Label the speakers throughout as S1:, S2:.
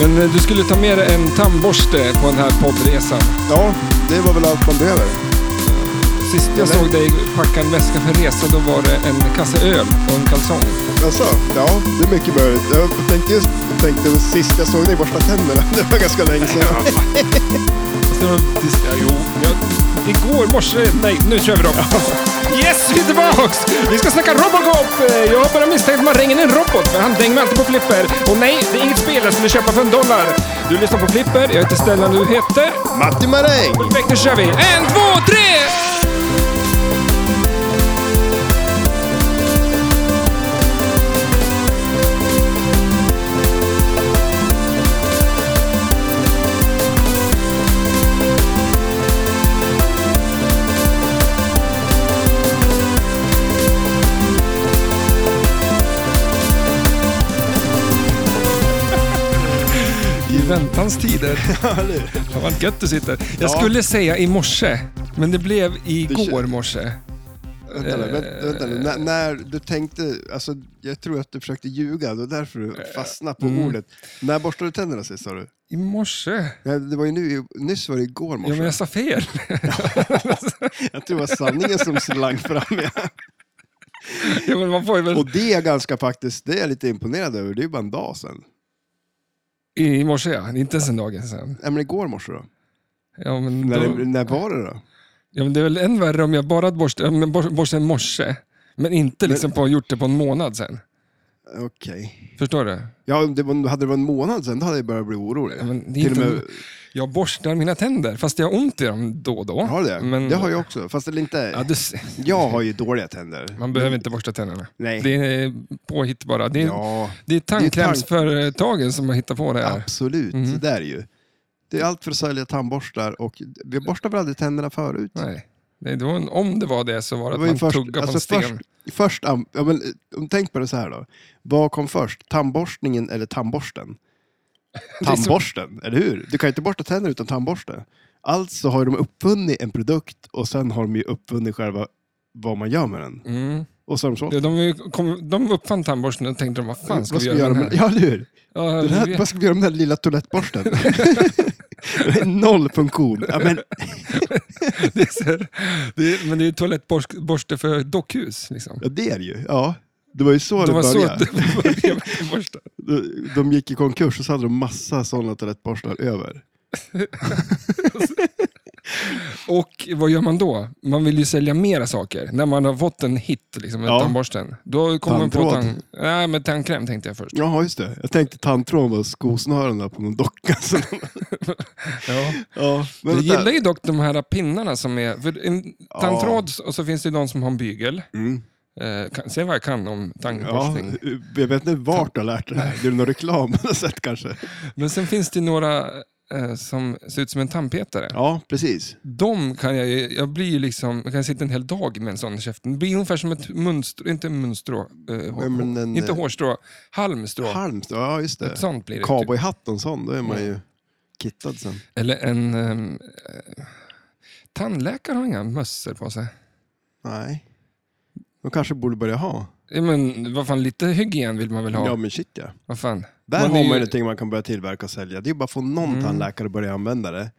S1: Men eh, du skulle ta med dig en tandborste på den här poddresan.
S2: Ja, det var väl allt man behöver.
S1: Sist jag såg dig packa en väska för resa, då var det en kasse öl och en kalsong.
S2: Alltså, ja, det är mycket behörigt. Jag tänkte just tänkte, sist jag såg dig borsta tänderna. Det var ganska länge sedan.
S1: Fast det var- det- ja, Jo, jag, igår morse... Nej, nu kör vi då. Yes, vi är tillbaks! Vi ska snacka Robocop! Eh, Jag har börjat misstänka att man ringer en robot, för han dänger mig alltid på Flipper. Och nej, det är inget spel jag skulle köpa för en dollar. Du lyssnar på Flipper, jag heter Stellan, du heter...
S2: Matti Maräng!
S1: Perfekt, nu kör vi! En, två, tre! I väntans tider. Fan vad gött du sitter. Jag
S2: Ja.
S1: skulle säga i morse, men det blev igår morse.
S2: Vänta nu, vänt- vänta nu. När, när du tänkte, alltså jag tror att du försökte ljuga, det var därför du fastnade på
S1: Mm.
S2: ordet. När borstade du tänderna sist sa du?
S1: I morse?
S2: Ja, Det var ju nu, nyss var det igår
S1: Ja,
S2: morse.
S1: men jag sa fel.
S2: Jag tror det var sanningen som slank fram. Ja.
S1: ja, men man får ju väl...
S2: Och det är jag ganska faktiskt, det är jag lite imponerad över. Det är ju bara en dag sedan.
S1: I morse ja, inte ens en dag sen.
S2: Nej men igår morse då?
S1: Ja, men
S2: När,
S1: då...
S2: det, när var det då?
S1: ja, men det är väl än värre om jag bara borstar ja, men bor- borstar i morse, men inte liksom på, gjort det på en månad sen.
S2: Okej.
S1: Förstår du?
S2: Ja, om det var, hade det varit en månad sedan, då hade jag börjat bli orolig.
S1: Ja, men det är
S2: Till och
S1: inte...
S2: med,
S1: Jag borstar mina tänder, fast jag har ont i dem då och då.
S2: har du det?
S1: Men...
S2: Det har jag också, fast det är inte...
S1: Ja, du... ser.
S2: Jag har ju dåliga tänder.
S1: Man behöver inte borsta tänderna.
S2: Nej.
S1: Det är påhitt bara. Det är,
S2: Ja,
S1: det är tandkrämsföretagen som har hittat på det här.
S2: absolut.
S1: Mhm.
S2: Det där är ju. Det är allt för att sälja tandborstar och vi borstar väl aldrig tänderna förut?
S1: Nej. Nej, det var en, om det var det så var det
S2: Det
S1: att
S2: var ju
S1: man
S2: först,
S1: tuggade på en
S2: alltså
S1: sten.
S2: först, först am- ja, men, eh, om- tänk på det så här då. Vad kom först? Tandborstningen eller tandborsten?
S1: är så-
S2: Tandborsten, eller hur? Du kan ju inte borsta tänder utan tandborste. Alltså har ju de uppfunnit en produkt och sen har de ju uppfunnit själva vad man gör med den.
S1: Mm.
S2: Och så har de sålt
S1: De, de, kom, de uppfann tandborsten och tänkte de, vad fan ska,
S2: vad
S1: vi göra med den här?
S2: Ja, eller hur?
S1: Ja,
S2: Den
S1: vi
S2: här,
S1: vet.
S2: vad ska vi göra med den här lilla toalettborsten? Det är Noll funktion. Ja, men,
S1: det är, så- det är, men det är ju toalettborste för dockhus. Liksom.
S2: ja, det är det ju. Ja. Det var ju så det,
S1: Det var så att
S2: började.
S1: det började med borsten.
S2: De, de gick i konkurs och så hade de massa sådana toalettborstar över.
S1: Och vad gör man då? Man vill ju sälja mera saker. När man har fått en hit liksom, med
S2: Ja.
S1: tandborsten. Då kommer man på
S2: Tandtråd.
S1: tand... Nej, men tandkräm tänkte jag först.
S2: Ja, just det. Jag tänkte tandtråden var skosnörena på någon docka. Så,
S1: Ja.
S2: ja,
S1: Jag
S2: men vänta.
S1: gillar ju dock de här pinnarna som är... För en
S2: Ja.
S1: tandtråd, och så finns det ju de som har en bygel.
S2: Mm.
S1: Eh, kan, säg vad jag kan om
S2: Ja,
S1: tandborstning.
S2: jag vet inte vart du har lärt dig det här. Det är någon reklam du har sett kanske.
S1: Men sen finns det ju några eh, som ser ut som en tandpetare.
S2: Ja, precis.
S1: De kan jag ju, jag blir ju liksom, jag kan sitta en hel dag med en sån i käften. Det blir ungefär som ett munstrå, inte munstrå, eh, hår,
S2: Ja, men en,
S1: inte
S2: eh,
S1: hårstrå, halmstrå.
S2: Halmstad, ja just
S1: Ett
S2: det.
S1: sånt blir det. Typ.
S2: Cowboyhatt och en sån, då är man ju kittad sen.
S1: Eller en... ehm, Eh, tandläkare har inga mössor på sig.
S2: Nej. De kanske borde börja ha.
S1: Ja, Men vad fan, lite hygien vill man väl ha?
S2: Ja, men shit ja.
S1: Vad fan?
S2: Där
S1: Man
S2: har
S1: är
S2: man ju
S1: ju- Mm.
S2: någonting man kan börja tillverka och sälja. Det är ju bara att få någon tandläkare att börja använda det.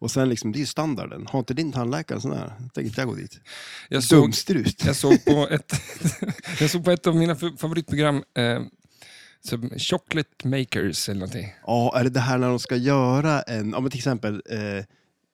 S2: Och sen liksom, det är ju standarden. Har inte din tandläkare en sån här? Tänker inte jag gå dit.
S1: Jag såg,
S2: Dumstrut.
S1: jag såg, på, ett, jag såg på ett av mina f- favoritprogram, eh, som Chocolate Makers eller någonting.
S2: Ja, är det det här när de ska göra en, ja men till exempel, eh, ja,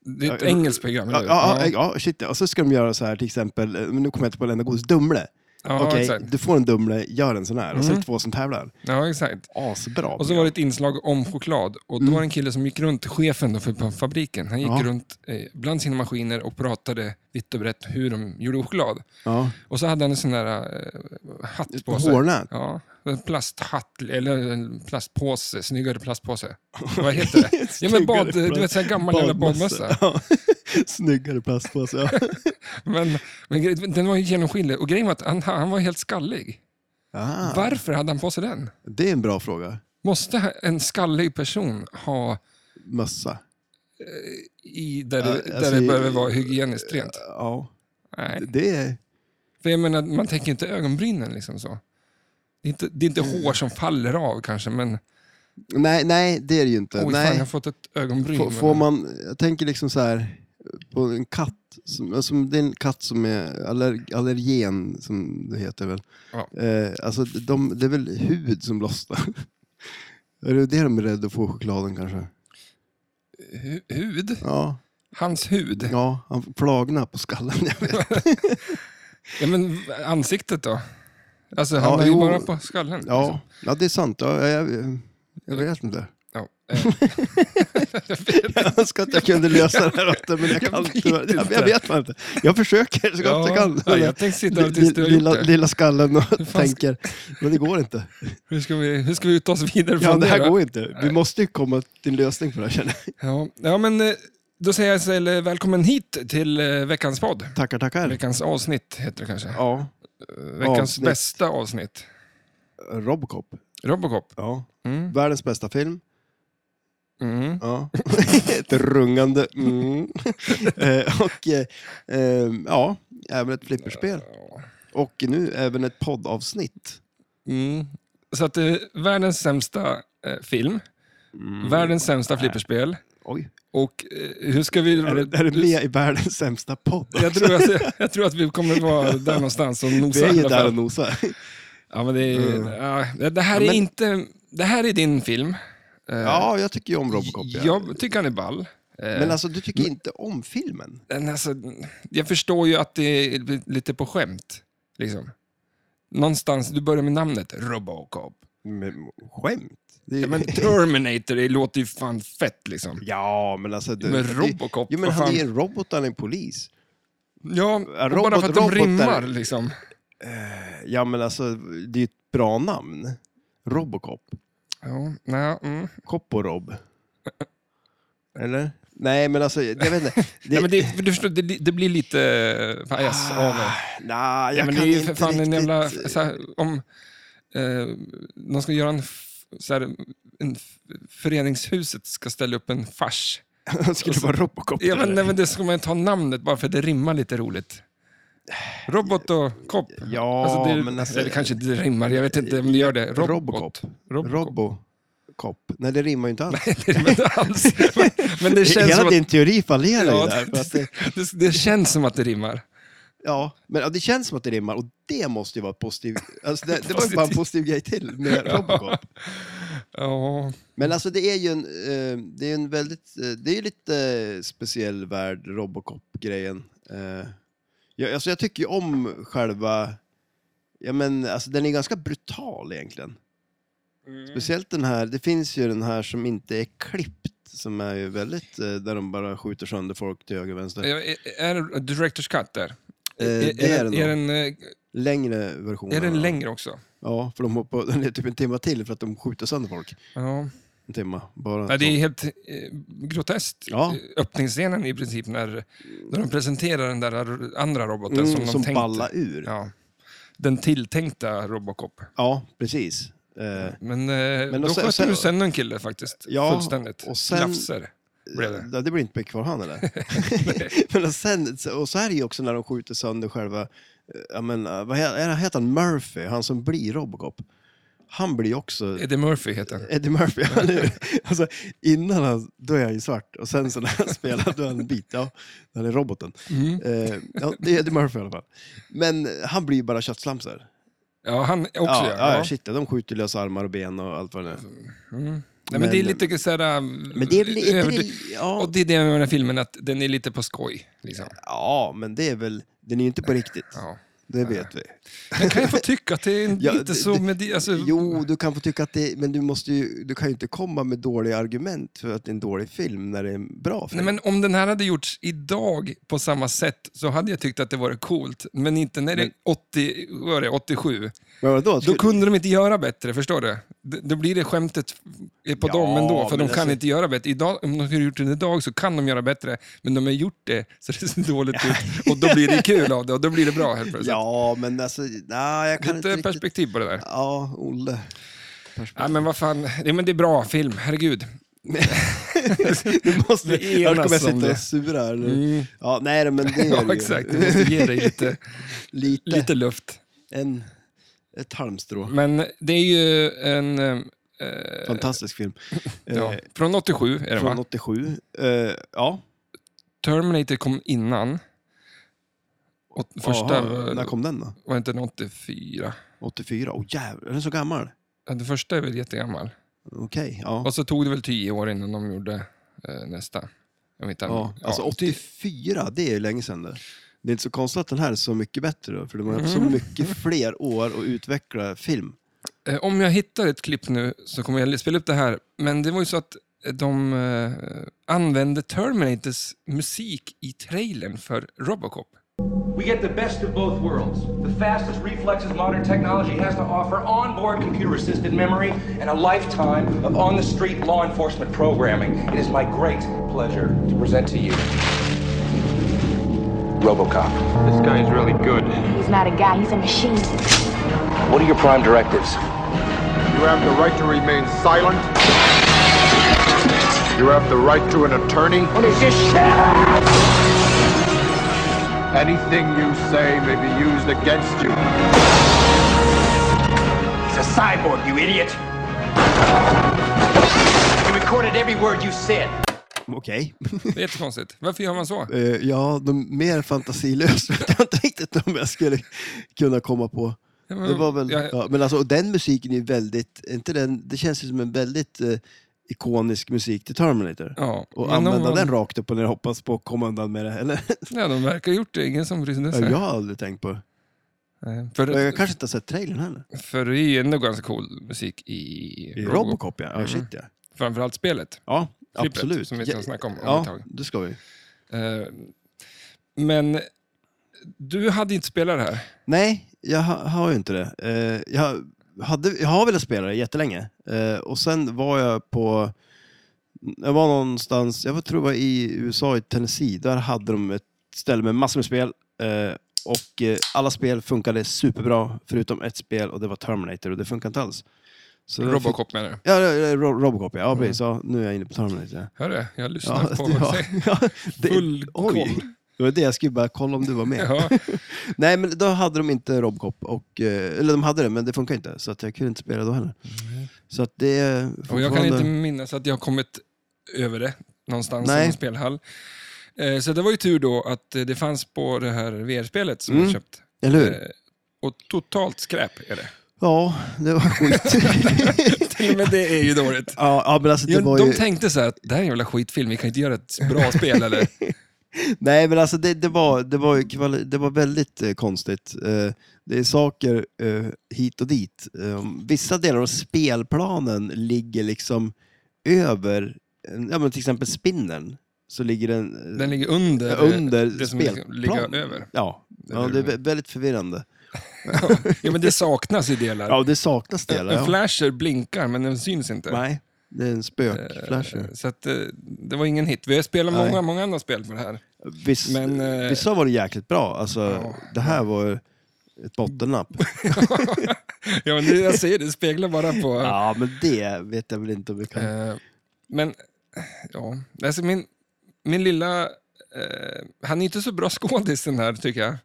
S1: Det är ett
S2: Ja,
S1: engelskt program, eller
S2: ja,
S1: hur?
S2: ja, ja, shit ja. Och så ska de göra så här till exempel, eh, men nu kommer jag inte på den godis, Dumle.
S1: Ja,
S2: Okej,
S1: exakt. Mm.
S2: du får en Dumle, gör en sån här. Och så är det två som tävlar.
S1: ja, exakt.
S2: Asbra.
S1: Och så var det ett inslag om choklad och då var det en kille som gick runt, chefen då för på fabriken, han gick
S2: Mm. Ja.
S1: runt eh, bland sina maskiner och pratade vitt och brett hur de gjorde choklad.
S2: Ja.
S1: Och så hade han en sån där eh, hatt på sig.
S2: Hårnät.
S1: Ja, en plasthatt eller en plastpåse, snyggare plastpåse. Vad heter det? Ja, men bad, du vet, så här gammal jävla badmössa.
S2: Ja. Snyggare plastpåse, ja.
S1: Men, men gre- den var ju genomskinlig och grejen var att han, han var helt skallig.
S2: Ah,
S1: Varför hade han på sig den?
S2: det är en bra fråga.
S1: Måste en skallig person ha
S2: Mössa.
S1: i, där,
S2: Ja,
S1: det, där
S2: alltså,
S1: det
S2: i-
S1: behöver vara hygieniskt rent?
S2: Ja,
S1: Nej.
S2: det är...
S1: För jag menar, man tänker ju inte ögonbrynen liksom så. Det är inte, det är inte hår som faller av kanske, men
S2: Nej, nej, det är det ju inte.
S1: Oj,
S2: nej.
S1: fan, jag har fått ett ögonbryn.
S2: Får, får man, jag tänker liksom så här på en katt. Som, alltså det är en katt som är aller, allergen, som det heter väl.
S1: Ja.
S2: Eh, alltså de, det är väl hud som lossnar. är det det de är rädda att få i chokladen kanske?
S1: Hu- Hud?
S2: Ja,
S1: Hans hud? Ja.
S2: ja han flagnar på skallen. Jag vet.
S1: men ansiktet då? Alltså, han
S2: Ja,
S1: är ju
S2: jo.
S1: bara på skallen. liksom.
S2: Ja, ja, det är sant. Ja, jag, jag vet inte.
S1: Ja, eh,
S2: Jag önskar att jag kunde lösa det här åt dig, men jag
S1: Jag
S2: kan
S1: vet
S2: inte. Jag, jag
S1: inte.
S2: vet fan inte. Jag försöker så gott jag
S1: ja,
S2: kan.
S1: ja, jag tänkte sitta här tills du har
S2: lilla,
S1: gjort det.
S2: lilla skallen och
S1: fan ska-
S2: tänker, men det går inte.
S1: Hur ska vi, hur ska vi ta oss vidare
S2: Ja,
S1: från
S2: det
S1: det?
S2: här
S1: då?
S2: går inte. Vi måste ju komma till en lösning på det här känner jag.
S1: Ja, ja, men eh, då säger jag så, eller, välkommen hit till eh, veckans podd.
S2: Tackar, tackar.
S1: Veckans avsnitt heter det kanske.
S2: Ja.
S1: Eh, veckans
S2: avsnitt.
S1: bästa avsnitt.
S2: Robocop.
S1: Robocop.
S2: Ja.
S1: Mm.
S2: Världens bästa film.
S1: Mm.
S2: Ja. ett rungande mm. Eh, Och eh, eh, ja, även ett flipperspel.
S1: Ja.
S2: Och nu även ett poddavsnitt.
S1: Mm. Så att eh, världens sämsta eh, film,
S2: Mm.
S1: världens sämsta flipperspel
S2: Oj.
S1: och eh, hur ska vi...
S2: Är det, är det med i världens sämsta podd?
S1: jag, tror att, jag tror att vi kommer vara där någonstans och nosa.
S2: Vi är
S1: i
S2: ju
S1: alla fall.
S2: där och nosar.
S1: Ja, men det, är,
S2: Mm.
S1: ja, det- det här
S2: Ja,
S1: är
S2: men-
S1: inte... Det här är din film. Eh,
S2: Ja, jag tycker ju om Robocop. Ja.
S1: Jag tycker han är ball. Eh,
S2: Men alltså, du tycker inte om filmen?
S1: men alltså, jag förstår ju att det är lite på skämt. Liksom. Någonstans, du börjar med namnet, Robocop.
S2: Men, skämt? Det är-
S1: Ja, men Terminator det låter ju fan fett liksom.
S2: Ja, men alltså... Du,
S1: Men
S2: det-
S1: Robocop,
S2: Jo, men
S1: vad
S2: han
S1: fan.
S2: är en robot, han är en polis.
S1: Ja, och
S2: robot-
S1: bara för att de
S2: robotar-
S1: rimmar liksom.
S2: Ja, men alltså, det är ju ett bra namn. Robocop.
S1: Ja, nej, mm.
S2: Cop och Rob. Eller? Nej, men alltså, jag vet inte. Det,
S1: ja, men det, för du förstår, det, det blir lite eh, pajas av det.
S2: Nej, jag
S1: Ja, men det
S2: kan
S1: är ju
S2: inte
S1: för fan en
S2: riktigt...
S1: jävla... Så här, om eh, de ska göra en... f- Så här, en f- föreningshuset ska ställa upp en fars.
S2: Han skulle vara Robocop.
S1: Alltså, Ja, men,
S2: eller?
S1: nej, men det ska man ju ta namnet bara för att det rimmar lite roligt. Robot och kopp.
S2: Ja,
S1: Alltså, det,
S2: men alltså...
S1: eller kanske inte rimmar, jag vet inte om det gör det. Robot.
S2: Robocop.
S1: Robocop.
S2: Robocop. Nej, det rimmar ju inte alls.
S1: Det rimmar inte alls. Men, men det känns
S2: Hela
S1: som att...
S2: din teori fallerar ju
S1: Ja,
S2: där. För att det,
S1: det, det, det känns som att det rimmar.
S2: ja, men ja, det känns som att det rimmar och det måste ju vara positiv. Alltså det, det var ju bara en positiv grej till med Robocop.
S1: Ja,
S2: Men alltså det är ju en, eh, det är en väldigt, eh, det är ju lite eh, speciell värld, Robocop-grejen. Eh, jag, alltså jag tycker ju om själva, ja men alltså den är ganska brutal egentligen.
S1: Mm.
S2: Speciellt den här, det finns ju den här som inte är klippt, som är ju väldigt, eh, där de bara skjuter sönder folk till höger och vänster.
S1: är, är det Directors Cut där?
S2: Eh,
S1: är,
S2: det är det nog.
S1: är, den, eh,
S2: Längre versioner.
S1: är den
S2: ja.
S1: längre också?
S2: Ja, för de hoppar, den är typ en timma till för att de skjuter sönder folk.
S1: Ja.
S2: En timma, bara.
S1: Nej, det är helt eh, groteskt.
S2: Ja.
S1: Öppningsscenen i princip när, när de presenterar den där andra roboten
S2: mm,
S1: som
S2: som
S1: de tänkte.
S2: ballar ur. Ja,
S1: Ja. Den tilltänkta Robocop.
S2: precis. Eh,
S1: Men, eh,
S2: och
S1: då
S2: sen-
S1: sköt
S2: sen-
S1: de ju sönder en kille faktiskt.
S2: Ja,
S1: Fullständigt.
S2: och sen-
S1: Lafser blev det.
S2: ja, det blir inte mycket kvar han eller? men och sen, och så är det ju också när de skjuter sönder själva, eh, ja men eh, vad heter, heter han Murphy, han som blir Robocop? Han blir ju också
S1: Eddie Murphy heter han.
S2: Eddie Murphy, ja, nu. alltså, innan han, då är han ju svart och sen så när han spelar då är han en bit, ja, han är roboten.
S1: Mm.
S2: Eh, ja, det är Eddie Murphy i alla fall. Men han blir ju bara köttslamsor.
S1: Ja, han också
S2: Ja,
S1: gör.
S2: ja, shit, de skjuter lösa armar och ben och allt vad det är.
S1: Mm. Nej, men, det är
S2: Men-
S1: lite såhär...
S2: Men det är väl inte det,
S1: eh, Och
S2: ja,
S1: det är det med den här filmen, att den är lite på skoj. Liksom.
S2: ja, men det är väl, den är ju inte på riktigt,
S1: Ja.
S2: det vet vi.
S1: Men kan jag få tycka att det är
S2: Ja,
S1: lite
S2: det-
S1: så
S2: det-
S1: med det, alltså,
S2: Jo, du kan få tycka att det, men du måste ju, du kan ju inte komma med dåliga argument för att det är en dålig film när det är en bra film.
S1: Nej, men om den här hade gjorts idag på samma sätt så hade jag tyckt att det vore coolt. Men inte när det är 80, vad var det, 87.
S2: men vadå?
S1: Då kunde de inte göra bättre, förstår du? D- Då blir det skämtet är på
S2: Ja,
S1: dem ändå, för
S2: men
S1: de kan
S2: alltså-
S1: inte göra bättre. Idag, om de skulle gjort det idag så kan de göra bättre, men de har gjort det så det ser dåligt ut. Och då blir det kul av det och då blir det bra helt plötsligt.
S2: Ja, men alltså, nej, jag kan
S1: Lite
S2: inte riktigt...
S1: perspektiv på det där.
S2: Ja, Olle. Perspektiv.
S1: Nej, men vad fan. Ja, men det är bra film, herregud.
S2: Du måste,
S1: Vi
S2: annars kommer jag
S1: enas om
S2: sitta
S1: det.
S2: och sura. här.
S1: Mm.
S2: Ja, nej, men det är det
S1: Ja,
S2: ju.
S1: exakt. Du måste ge dig lite,
S2: Lite,
S1: lite luft.
S2: En, ett halmstrå.
S1: Men det är ju en, eh, Eh,
S2: Fantastisk film.
S1: ja.
S2: Eh,
S1: Från 87 är den
S2: Från
S1: va?
S2: 87. Eh, ja.
S1: Terminator kom innan. Och första
S2: Aha, när
S1: var,
S2: kom den då?
S1: var inte den 84?
S2: 84? Åh jävlar, är den så gammal?
S1: Ja, den första är väl jättegammal.
S2: Okej, ja.
S1: Och så tog det väl 10 år innan de gjorde eh, nästa. Jag vet inte.
S2: ja. Alltså
S1: Ja, ty-
S2: 84, det är ju länge sedan det. Det är inte så konstigt att den här är så mycket bättre då, för de har haft så
S1: Mm.
S2: mycket fler år att utveckla film.
S1: Eh, Om jag hittar ett klipp nu så kommer jag spela upp det här. Men det var ju så att eh, de eh, använde Terminators musik i trailern för Robocop.
S3: We get the best of both worlds the fastest reflexes modern technology has to offer, onboard computer assisted memory, and a lifetime of on the street law enforcement programming. It is my great pleasure to present to you Robocop.
S4: This guy is really good.
S5: He's not a guy, he's a machine.
S3: What are your prime directives?
S4: You have the right to remain silent. You have the right to an attorney.
S3: What is this shit?
S4: Anything you say may be used against you.
S3: It's a cyborg, you idiot! He recorded every word you said.
S2: Okej.
S1: Det är jättekonstigt. Varför gör man så?
S2: Eh, ja, de mer fantasilöst vet jag inte riktigt om jag skulle kunna komma på.
S1: Ja, men-
S2: Det var väl,
S1: jag-
S2: ja, men alltså, och den musiken är ju väldigt, är inte den, det känns ju som en väldigt eh, ikonisk musik till Terminator.
S1: Ja, men
S2: Och
S1: de
S2: använda
S1: var-
S2: den rakt upp och ner och hoppas på att komma undan med det, eller?
S1: Nej, de verkar ha gjort det. Ingen som brydde sig.
S2: Jag har aldrig tänkt på det.
S1: Eh,
S2: Och Jag
S1: För,
S2: kanske inte har sett trailern heller.
S1: för det är ju ändå ganska cool musik i,
S2: I Robocop, ja. ja shit, ja.
S1: Framförallt spelet.
S2: Ja,
S1: Klippet,
S2: absolut.
S1: som vi ska snacka om om ett
S2: Ja,
S1: tag.
S2: det ska vi.
S1: Eh, Men du hade inte spelat det här.
S2: Nej, jag ha, har ju inte det. Eh, jag, hade, jag har velat spela det jättelänge. Eh, och sen var jag på... Jag var någonstans, jag tror jag var i USA, i Tennessee. Där hade de ett ställe med massor med spel. Eh, och eh, alla spel funkade superbra, förutom ett spel och det var Terminator och det funkade inte alls. Så jag Fick,
S1: Robocop Mm. menar du?
S2: ja, ja, ja, Ro- Robocop, ja. ja precis. Ja, nu är jag inne på Terminator. ja.
S1: Hör du? Jag lyssnar
S2: Ja,
S1: på vad du
S2: ja,
S1: säger.
S2: ja, det,
S1: Full
S2: oj,
S1: koll.
S2: det var det jag skulle bara kolla om du var med.
S1: Ja.
S2: Nej, men då hade de inte Robocop. Och, eh, eller de hade det, men det funkar inte. Så att jag kunde inte spela då heller. Så att det är
S1: Och jag kan
S2: fortfarande-
S1: inte minnas att jag har kommit över det någonstans i
S2: Nej.
S1: en spelhall. Eh, Så det var ju tur då att eh, det fanns på det här VR-spelet som
S2: Mm.
S1: jag köpt.
S2: Eller hur?
S1: Eh, Och totalt skräp är det.
S2: Ja, det var skit.
S1: Till och med det är ju dåligt.
S2: ja, ja, men alltså det
S1: Ja,
S2: var
S1: de
S2: ju...
S1: tänkte så här att det här är en jävla skitfilm, vi kan inte göra ett bra spel eller?
S2: Nej, men alltså det, det, var, det, var, ju kvali... det var väldigt eh, konstigt. Eh, det är saker eh, hit och dit. Eh, vissa delar av spelplanen ligger liksom över, en- ja, men till exempel spindeln. Så ligger den, eh,
S1: Den ligger under,
S2: Ja,
S1: eh,
S2: under
S1: det som
S2: spelplan.
S1: ligger över.
S2: Ja, ja det är vä- väldigt förvirrande.
S1: Ja, men det saknas i delar.
S2: Ja, det saknas delar.
S1: en
S2: Ja.
S1: flasher blinkar men den syns inte.
S2: Nej, det är en spökflasher.
S1: Så att, eh, det var ingen hit. Vi har spelat
S2: Nej.
S1: många, många andra spel för det här.
S2: Viss,
S1: men, eh,
S2: vissa var det jäkligt bra. Alltså, det här var ett bottennapp.
S1: ja, men det jag säger, det speglar bara på...
S2: ja, men det vet jag väl inte om vi kan...
S1: Eh, men, ja. Alltså min, min lilla... Eh, han är inte så bra skådis den här, tycker jag.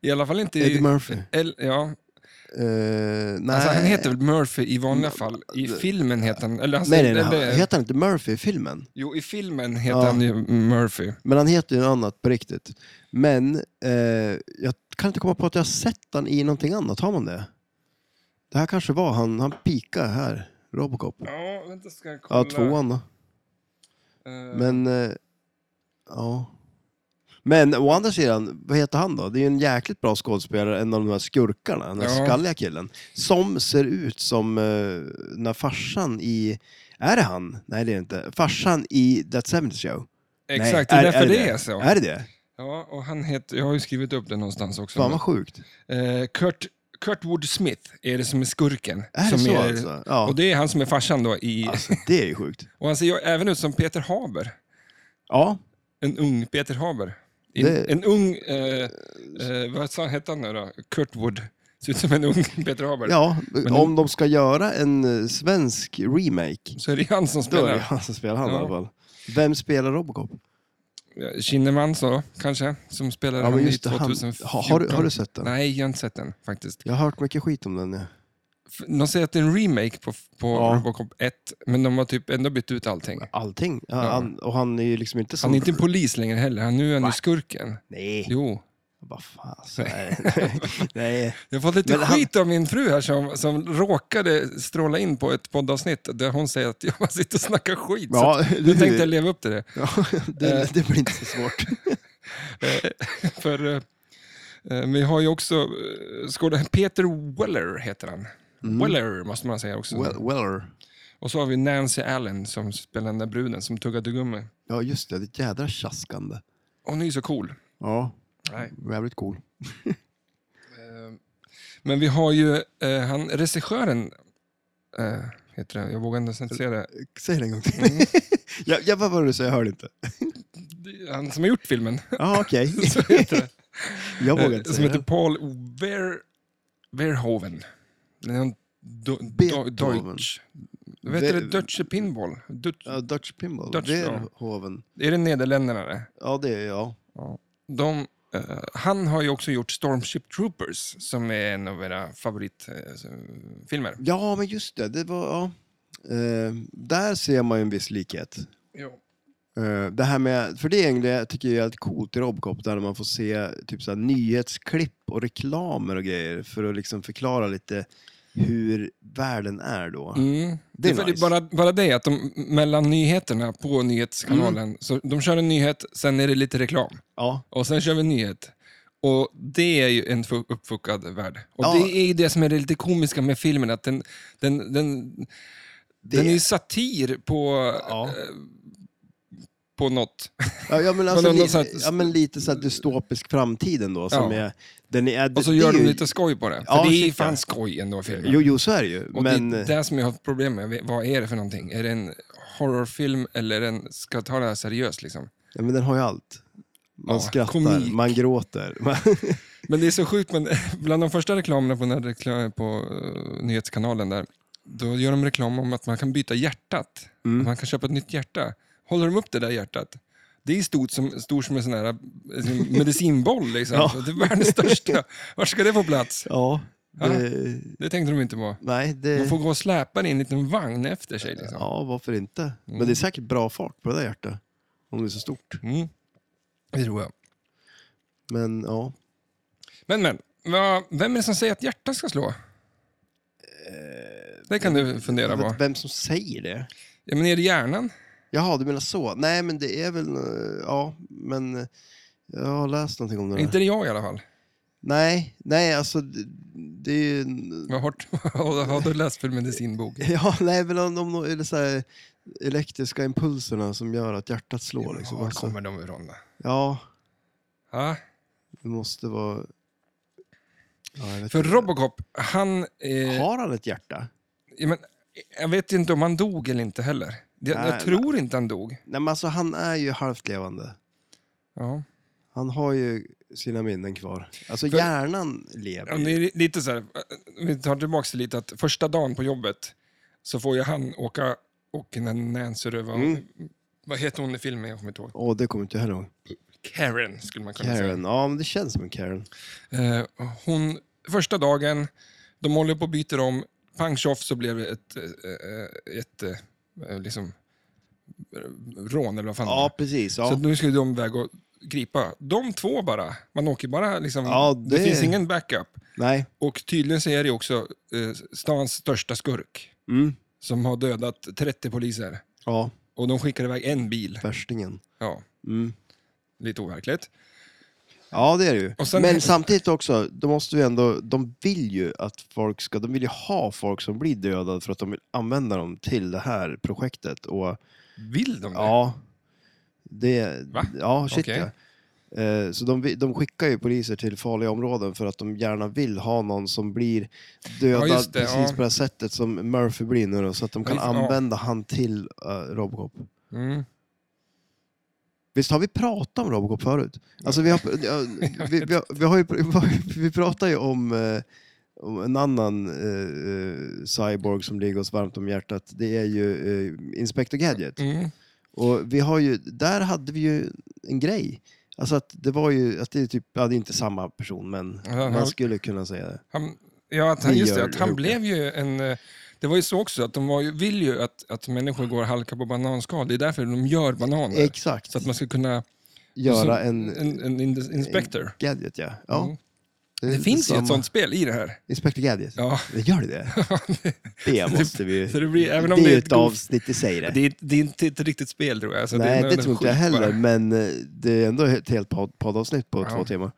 S1: I alla fall inte i...
S2: Eddie Murphy.
S1: El, ja.
S2: Eh, nej. Mm,
S1: alltså, han heter väl Murphy i vanliga fall. I filmen heter han... Eller, alltså,
S2: nej, nej, nej. Han,
S1: eller,
S2: heter han inte Murphy i filmen?
S1: Jo, i filmen heter
S2: Ja.
S1: han ju Murphy.
S2: Men han heter ju något annat på riktigt. Men eh, jag kan inte komma på att jag har sett han i någonting annat. Har man det? Det här kanske var han. Han pika här. Robocop.
S1: Ja, vänta ska jag kolla.
S2: Ja, tvåan då.
S1: Eh,
S2: Men, eh, ja. Men å andra sidan, vad heter han då? Det är ju en jäkligt bra skådespelare, en av de här skurkarna, den här
S1: Ja.
S2: skalliga killen. Som ser ut som eh, när farsan i... Är det han? Nej, det är det inte. Farsan i That 70 Show.
S1: Exakt,
S2: Nej,
S1: det är därför det är så.
S2: Är det det?
S1: Ja, och han heter, jag har ju skrivit upp det någonstans också.
S2: Fan vad sjukt.
S1: Eh, Kurt, Kurt Wood Smith är det som är skurken.
S2: Är det
S1: som
S2: så alltså? Ja.
S1: Och det är han som är farsan då. I,
S2: Alltså, det är ju sjukt.
S1: Och han ser ju även ut som Peter Haber.
S2: Ja,
S1: En ung Peter Haber. En,
S2: Det-
S1: en ung, eh, eh, vad sa, hette han nu då? Kurt Wood. Ser ut som en ung Peter Haber.
S2: ja
S1: Men-
S2: om de ska göra en eh, svensk remake,
S1: Så är det han som
S2: då är det
S1: spelar.
S2: han som spelar han i
S1: Ja.
S2: alla fall. Vem spelar Robocop?
S1: Kinnaman så, kanske, som spelade
S2: Ja, men
S1: han i
S2: just det, han-
S1: 2014.
S2: Ha- har du- har du sett den?
S1: Nej, jag har inte sett den faktiskt.
S2: Jag har hört mycket skit om den. Ja.
S1: f- de säger att det är en remake på, på
S2: Ja.
S1: Robocop 1, men de har typ ändå bytt ut allting.
S2: Allting. Ja, Han, och han är ju liksom inte som...
S1: Han är inte en polis längre heller, han, nu är han ju skurken.
S2: Nej.
S1: Jo.
S2: Vad fan. Alltså, nej. nej.
S1: Jag har fått lite
S2: Men han-
S1: skit av min fru här som, som råkade stråla in på ett poddavsnitt där hon säger att jag bara sitter och snackar skit.
S2: Ja,
S1: så
S2: du-
S1: jag tänkte jag leva upp till det.
S2: Ja, Eh. det, det blir inte så svårt.
S1: För eh, eh, vi har ju också eh, skådespelaren Peter Weller heter han. Weller måste man säga också.
S2: Well, Mm. weller.
S1: Och så har vi Nancy Allen som spelar den där bruden som tuggade gummi.
S2: Ja, just det. Det är ett jädra tjaskande.
S1: Hon är ju så cool.
S2: Ja,
S1: Nej.
S2: jävligt cool.
S1: Men vi har ju eh, han regissören, eh, heter det, jag vågar inte ens säga det,
S2: Säg det en gång till. jag, jag, vad var det du sa? Jag hörde inte.
S1: han som har gjort filmen.
S2: Ja, okej.
S1: Så heter det.
S2: Jag vågar
S1: Eh,
S2: inte
S1: som
S2: säga
S1: heter
S2: det.
S1: Paul Ver, Verhoeven. Det är en do, do,
S2: Beethoven.
S1: Deutsch. Vad heter det?
S2: Ver-
S1: Deutsche Pinball? Dutch,
S2: Ja, Dutch Pinball.
S1: Dutch,
S2: det
S1: ja.
S2: är hoven.
S1: Är det Nederländerna det?
S2: Ja, det är jag.
S1: De, eh, han har ju också gjort Stormship Troopers som är en av era favoritfilmer.
S2: Ja, men just det. det var, ja. Eh, där ser man ju en viss likhet. Eh, det här med, för det är egentligen, jag tycker jag är jävligt coolt i Robocop, där man får se typ så här, nyhetsklipp och reklamer och grejer för att liksom förklara lite hur världen är då.
S1: Mm.
S2: Det
S1: Det
S2: är
S1: är
S2: nice.
S1: bara, bara det att de, mellan nyheterna på nyhetskanalen,
S2: Mm.
S1: så de kör en nyhet, sen är det lite reklam.
S2: Ja.
S1: Och sen kör vi en nyhet. Och det är ju en fu- uppfuckad värld. Och
S2: Ja.
S1: det är ju det som är det lite komiska med filmen, att den, den, den,
S2: Det-
S1: den är ju satir på, eh,
S2: Ja.
S1: på något.
S2: Ja, ja, men alltså,
S1: Men ändå
S2: li,
S1: så att-
S2: ja, men lite så här dystopisk framtid ändå. Som
S1: Ja.
S2: är, den är, det,
S1: Och så
S2: det
S1: gör
S2: är
S1: de
S2: ju-
S1: lite skoj på det. För
S2: Ja,
S1: det är ju
S2: shit, ja.
S1: fan skoj ändå, filmen.
S2: Jo, jo, så är det ju.
S1: Och
S2: Men,
S1: Det är det som jag har problem med. Vad är det för någonting? Är det en horrorfilm eller en, ska jag ta det här seriöst? Liksom?
S2: ja, men den har ju allt. Man
S1: Ja,
S2: skrattar,
S1: komik.
S2: man gråter. Man,
S1: Men det är så sjukt, men bland de första reklamerna på, den här rekla- på eh, nyhetskanalen där, då gör de reklam om att man kan byta hjärtat.
S2: Mm.
S1: Att man kan köpa ett nytt hjärta. Håller de upp det där hjärtat? Det är stort som, stort som en sån här eh, medicinboll. Liksom.
S2: Ja.
S1: Så Det är världens största. Var ska det få plats?
S2: ja, det,
S1: Det tänkte de inte på.
S2: nej, det...
S1: Man får gå och släpa det i en liten vagn efter sig. Liksom.
S2: Ja, varför inte? Men det är säkert bra fart på det där hjärtat. Om det är så stort.
S1: Mm. Det tror jag.
S2: Men ja.
S1: Men, men. vad- Vem är det som säger att hjärtat ska slå? Det kan du fundera
S2: Eh, Jag vet
S1: på.
S2: inte vem som säger det.
S1: Ja, men är det hjärnan?
S2: Jaha, du menar så. Nej, men det är väl... eh, Ja, men... eh, Jag har läst någonting om det. där.
S1: Inte det jag i alla fall. nej.
S2: Nej, nej, alltså... Det, det är ju... en-
S1: Vad har, vad har du läst för medicinbok?
S2: Ja, nej, men om, om eller så här, elektriska impulserna som gör att hjärtat slår. Liksom.
S1: Var
S2: Alltså,
S1: kommer de ifrån? då?
S2: ja,
S1: Ja.
S2: det måste vara... Ja, jag vet
S1: För
S2: inte.
S1: Robocop, han... Eh,
S2: Har han ett hjärta?
S1: ja, men, jag vet ju inte om han dog eller inte heller. Jag,
S2: Nej,
S1: jag tror inte han dog.
S2: Nej, men alltså han är ju halvt levande.
S1: Ja.
S2: Han har ju sina minnen kvar. Alltså
S1: För-
S2: hjärnan lever.
S1: Ja, Det
S2: ju.
S1: är lite så här, eh, vi tar tillbaka det lite, att första dagen på jobbet så får ju han åka, och när Nancy rövar,
S2: Mm.
S1: vad heter hon i filmen, jag kommer inte ihåg.
S2: Åh, det kommer inte jag ihåg.
S1: Karen skulle man kunna säga.
S2: Karen, ja men det känns som en Karen.
S1: Eh, hon, första dagen, de håller på och byter om. Pang tjoff så blev det ett, eh, ett, eh, liksom, eh, rån eller vad fan det
S2: Ja,
S1: var.
S2: precis.
S1: Så
S2: Ja.
S1: nu ska de iväg och gripa. De två bara. Man åker bara liksom,
S2: Ja,
S1: det...
S2: det-
S1: finns ingen backup.
S2: Nej,
S1: Och tydligen så är det också eh, stans största skurk
S2: Mm.
S1: som har dödat 30 poliser.
S2: ja,
S1: Och de skickar iväg en bil.
S2: värstingen.
S1: Ja.
S2: Mm.
S1: Lite overkligt.
S2: Ja, det är det ju.
S1: Och sen-
S2: Men samtidigt också, då måste vi ändå, de vill ju att folk ska, de vill ju ha folk som blir dödade för att de vill använda dem till det här projektet. Och
S1: Vill de det?
S2: ja, det,
S1: Va?
S2: ja, shit
S1: Okej.
S2: ja. Eh, Så de, vi- de skickar ju poliser till farliga områden för att de gärna vill ha någon som blir dödad
S1: Ja, just det,
S2: precis
S1: ja.
S2: på det här sättet som Murphy blir nu då, så att de kan
S1: Ja.
S2: använda han till uh, Robocop.
S1: Mm.
S2: Visst har vi pratat om Robocop förut? Alltså vi, har, ja, vi, vi, har, vi, har ju, vi pratar ju om, eh, om en annan eh, cyborg som ligger oss varmt om hjärtat. Det är ju eh, Inspector Gadget.
S1: Mm.
S2: Och vi har ju, där hade vi ju en grej. Alltså att det var ju, att det är typ, ja det är inte samma person men
S1: Ja, ja.
S2: man skulle kunna säga det.
S1: Han, Ja, att han, just det,
S2: gör
S1: att han
S2: ihop det.
S1: blev ju en... eh, Det var ju så också, att de var ju, vill ju att, att människor går och halkar på bananskal. Det är därför de gör bananer.
S2: Exakt.
S1: Så att man ska kunna...
S2: Göra
S1: som-
S2: en,
S1: en, en ins- inspector.
S2: Gadget, ja. ja.
S1: Mm.
S2: Det,
S1: Det finns ju
S2: samma.
S1: ett sånt spel i det här.
S2: Inspector Gadget.
S1: Ja.
S2: Gör det det? Det måste vi
S1: Så det blir- även om
S2: det
S1: det är
S2: är
S1: ett
S2: ett
S1: gott-
S2: avsnitt i sig det.
S1: Det är, det är inte ett riktigt spel tror jag. Så det,
S2: Nej,
S1: är
S2: det,
S1: en- en
S2: tror inte jag
S1: skit
S2: heller,
S1: bara.
S2: men eh, det är ändå ett helt podd- poddavsnitt på
S1: Ja.
S2: två timmar.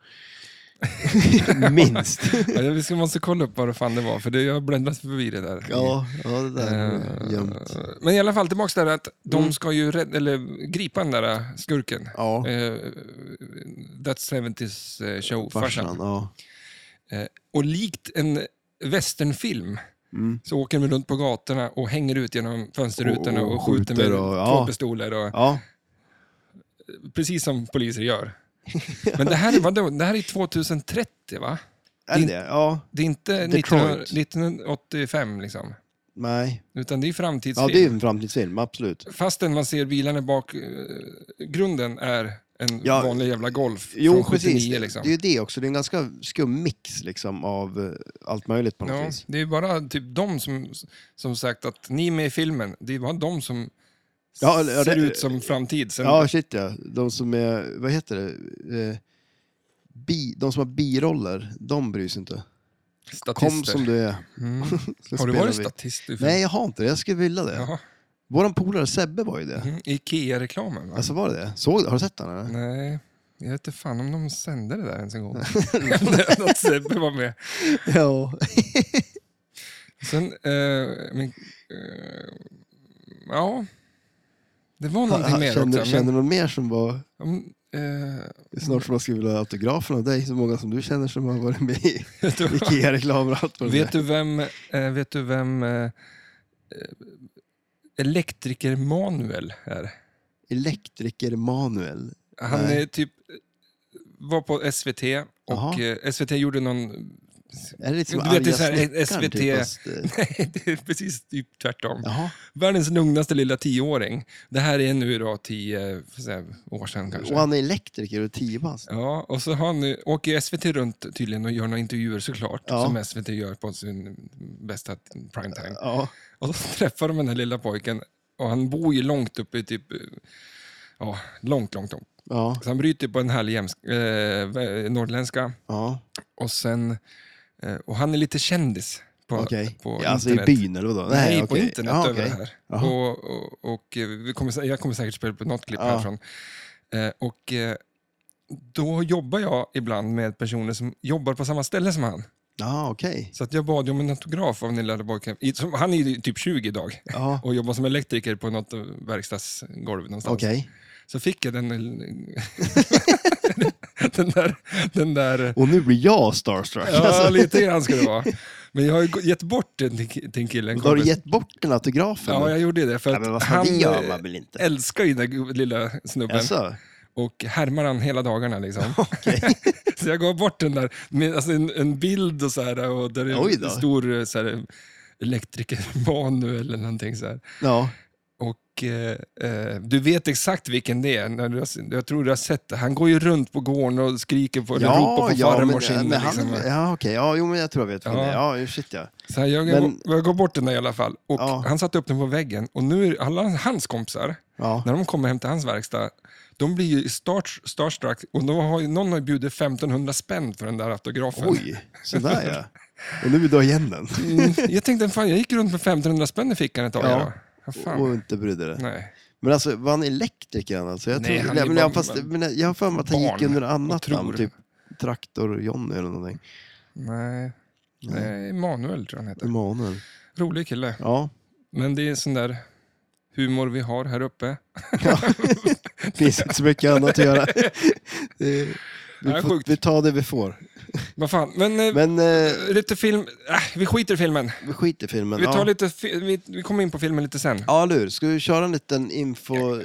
S2: Minst.
S1: Ja, jag ska- måste kolla upp vad det fan det var, för det, jag har bländat förbi det där.
S2: ja, ja, det där är
S1: Eh,
S2: gömt.
S1: Men i alla fall tillbaks där att de ska ju rädd, eller, gripa den där äh, skurken.
S2: Mm. Ja.
S1: Eh, That 70s eh, show, farsan.
S2: Farsan, ja.
S1: Eh, Och likt en westernfilm
S2: Mm.
S1: så åker de runt på gatorna och hänger ut genom fönsterrutorna
S2: Och-
S1: och,
S2: och
S1: skjuter med
S2: skjuter och-
S1: två
S2: ja.
S1: pistoler. Och,
S2: ja.
S1: Precis som poliser gör. Men det här, är, vadå, det här är 2030 va?
S2: Är det
S1: Din-
S2: det? Ja.
S1: Det är inte
S2: Detroit.
S1: 1900, 1985 liksom.
S2: Nej.
S1: Utan det är
S2: Ja,
S1: framtidsfilm.
S2: det är en framtidsfilm, absolut.
S1: Fastän man ser bilarna bak, eh, grunden är en
S2: Ja.
S1: vanlig jävla Golf
S2: Jo,
S1: från
S2: precis.
S1: 79 liksom.
S2: Det är ju det också. Det är en ganska skum mix liksom, av eh, allt möjligt på något
S1: Ja,
S2: vis.
S1: det är bara typ de som, som sagt att ni är med i filmen, det är bara de som
S2: Ja, eller- ja,
S1: ser
S2: det-
S1: ut som framtid. Sen,
S2: Ja, shit ja. De som är, vad heter det? Eh, bi, de som har biroller, de bryr sig inte.
S1: statister.
S2: Kom som du är.
S1: Mm.
S2: Så
S1: Har du
S2: spelar
S1: varit
S2: vi.
S1: statist? i film?
S2: Nej, jag har inte det. Jag skulle vilja det.
S1: Jaha.
S2: Våran polare Sebbe var ju det.
S1: Mm, Ikea-reklamen va?
S2: Alltså var det det? Såg, har du sett den? Eller?
S1: Nej, jag vet inte fan om de sände det där ens en gång. Något Sebbe var med.
S2: Ja.
S1: Sen, eh, men, eh, ja, det var någonting mer
S2: känner,
S1: också.
S2: känner
S1: Men,
S2: du någon mer som var...
S1: om, eh,
S2: Snart som man skulle vilja ha autografen av dig, så många som du känner som har varit med i Ikea-reklam och allt vad det
S1: vet du vem, eh, vet du vem eh, eh, elektriker Manuel är?
S2: är. Elektriker Manuel.
S1: Han
S2: Nej.
S1: är typ, var på SVT och
S2: Jaha.
S1: eh, SVT gjorde någon
S2: Är det lite som
S1: Du vet, det är
S2: arga
S1: så här,
S2: snickaren?
S1: SVT.
S2: Typ, fast, eh,
S1: Nej, det är precis typ tvärtom.
S2: jaha.
S1: Världens lugnaste lilla tioåring. Det här är nu då tio får säga, år sedan kanske.
S2: Och han är elektriker och tio bast.
S1: Ja, och så har han, eh, åker SVT runt tydligen och gör några intervjuer såklart,
S2: Ja.
S1: som SVT gör på sin bästa primetime.
S2: Ja.
S1: Och så träffar de den här lilla pojken och han bor ju långt uppe i typ, eh, ja, långt, långt, långt.
S2: Ja.
S1: Så han bryter på en härlig jämsk, eh, vä- norrländska
S2: ja.
S1: och sen, eh, och han är lite kändis på,
S2: Okej.
S1: på
S2: Ja, alltså i
S1: internet.
S2: byn eller vadå?
S1: Nej, på
S2: okej.
S1: internet
S2: Ja,
S1: över
S2: okej.
S1: det här.
S2: Jaha.
S1: Och, och, och eh, vi kommer, sä- jag kommer säkert spela upp något klipp
S2: Ja.
S1: härifrån. Eh, och eh, då jobbar jag ibland med personer som jobbar på samma ställe som han.
S2: Ja, okej.
S1: Så att jag bad ju om en autograf av Nilla Borgkamp. Han är ju typ 20 idag
S2: Ja,
S1: och jobbar som elektriker på något eh, verkstadsgolv någonstans.
S2: okej.
S1: Så fick jag den, eh, den där, den där eh,
S2: Och nu blir jag starstruck.
S1: ja,
S2: alltså.
S1: lite grann ska det vara. Men jag har ju gett bort den till till en kille. en
S2: Då har du
S1: kompis.
S2: gett bort den autografen?
S1: Ja, jag gjorde det. För
S2: Ja,
S1: att
S2: men vad fan,
S1: han
S2: det gör
S1: eh,
S2: man väl inte?
S1: älskar ju den där lilla snubben
S2: Alltså,
S1: och härmar han hela dagarna. Liksom. så jag gav bort den där, med, alltså en, en bild och så här, och där
S2: Oj
S1: är
S2: då.
S1: en stor eh, så här, elektriker-manuel eller någonting så här.
S2: ja.
S1: Och eh, eh, du vet exakt vilken det är, när du har, jag tror du har sett det. Han går ju runt på gården och skriker på, eller ropar på farmors
S2: men,
S1: hinder,
S2: men han,
S1: liksom.
S2: ja, okej. Ja, jo, men jag tror jag vet vad
S1: Ja.
S2: det är. Ja, ju, shit ja.
S1: Så här, jag,
S2: Men-
S1: jag gav bort den där i alla fall. Och
S2: Ja.
S1: Han satte upp den på väggen och nu är alla hans kompisar,
S2: Ja.
S1: när de kommer hem till hans verkstad, de blir ju start, starstruck och de har, ju- någon har ju bjudit 1500 spänn för den där autografen.
S2: Oj, sådär ja. Och nu vill du ha igen den.
S1: Mm, jag tänkte, fan, jag gick runt med 1500 spänn i fickan ett tag.
S2: Ja.
S1: Ja. Ja, fan.
S2: Och inte brydde dig.
S1: Nej.
S2: Men alltså, var han elektriker han alltså? Jag
S1: Nej,
S2: tror,
S1: han är
S2: men,
S1: bara-
S2: jag, fast, men jag- jag har för mig att han
S1: barn
S2: gick under
S1: och
S2: annat
S1: tror.
S2: namn, typ Traktor-Jonny eller någonting.
S1: Nej. Nej, Manuel tror jag han heter.
S2: Emanuel.
S1: Rolig kille.
S2: Ja,
S1: Men det är sån där humor vi har här uppe.
S2: finns inte så mycket annat att göra. Det,
S1: Ja,
S2: vi, får,
S1: sjukt.
S2: vi tar det vi får.
S1: Vad fan, men... eh,
S2: Men eh,
S1: Lite film... Äh, vi skiter i filmen.
S2: vi skiter i filmen.
S1: Vi, tar
S2: ja.
S1: lite fi- vi, vi kommer in på filmen lite sen.
S2: Ja, eller hur? Ska vi köra en liten info?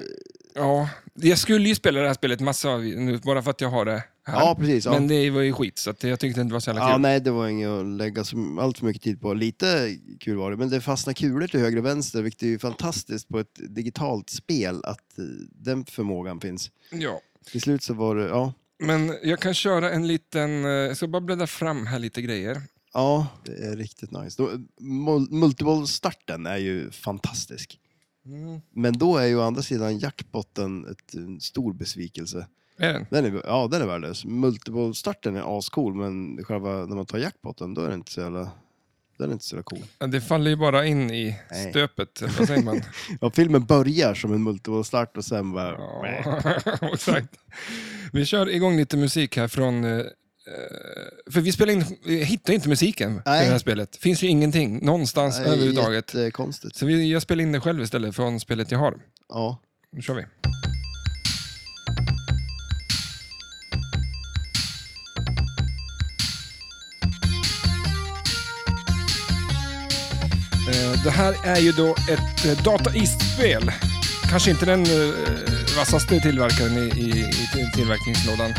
S1: Ja, jag skulle ju spela det här spelet massa av nu, bara för att jag har det här.
S2: Ja, precis. Ja.
S1: Men det var ju skit, så att jag tyckte inte det var så jävla
S2: Ja,
S1: kul.
S2: nej, det var inget att lägga så, allt för mycket tid på. Lite kul var det, men det fastnar kulor till höger och vänster, vilket är ju fantastiskt på ett digitalt spel att eh, den förmågan finns.
S1: ja.
S2: Till slut så var det, ja,
S1: Men jag kan köra en liten... eh, Jag ska bara bläddra fram här lite grejer.
S2: Ja, det är riktigt nice. Då- mul- Multiboll-starten är ju fantastisk.
S1: Mm.
S2: Men då är ju å andra sidan jackpotten ett, en stor besvikelse.
S1: Är den?
S2: Den är, ja, den är värdelös. Multiboll-starten är ascool, men själva när man tar jackpotten, då är den inte så jävla, den är inte så jävla cool.
S1: Ja, Det faller ju bara in i
S2: Nej.
S1: stöpet, eller vad säger man?
S2: Ja, filmen börjar som en multiboll-start och sen bara...
S1: Ja, exakt. Vi kör igång lite musik här från... eh, eh, För vi spelar in, vi hittar inte musiken i det
S2: Nej.
S1: här spelet. finns ju ingenting någonstans
S2: Nej,
S1: överhuvudtaget.
S2: Jättekonstigt.
S1: Så vi, jag spelar in det själv istället från spelet jag har.
S2: Ja.
S1: Nu kör vi. Eh, Det här är ju då ett eh, Data East-spel. Kanske inte den eh, vassaste tillverkaren i, i, i till- tillverkningslådan.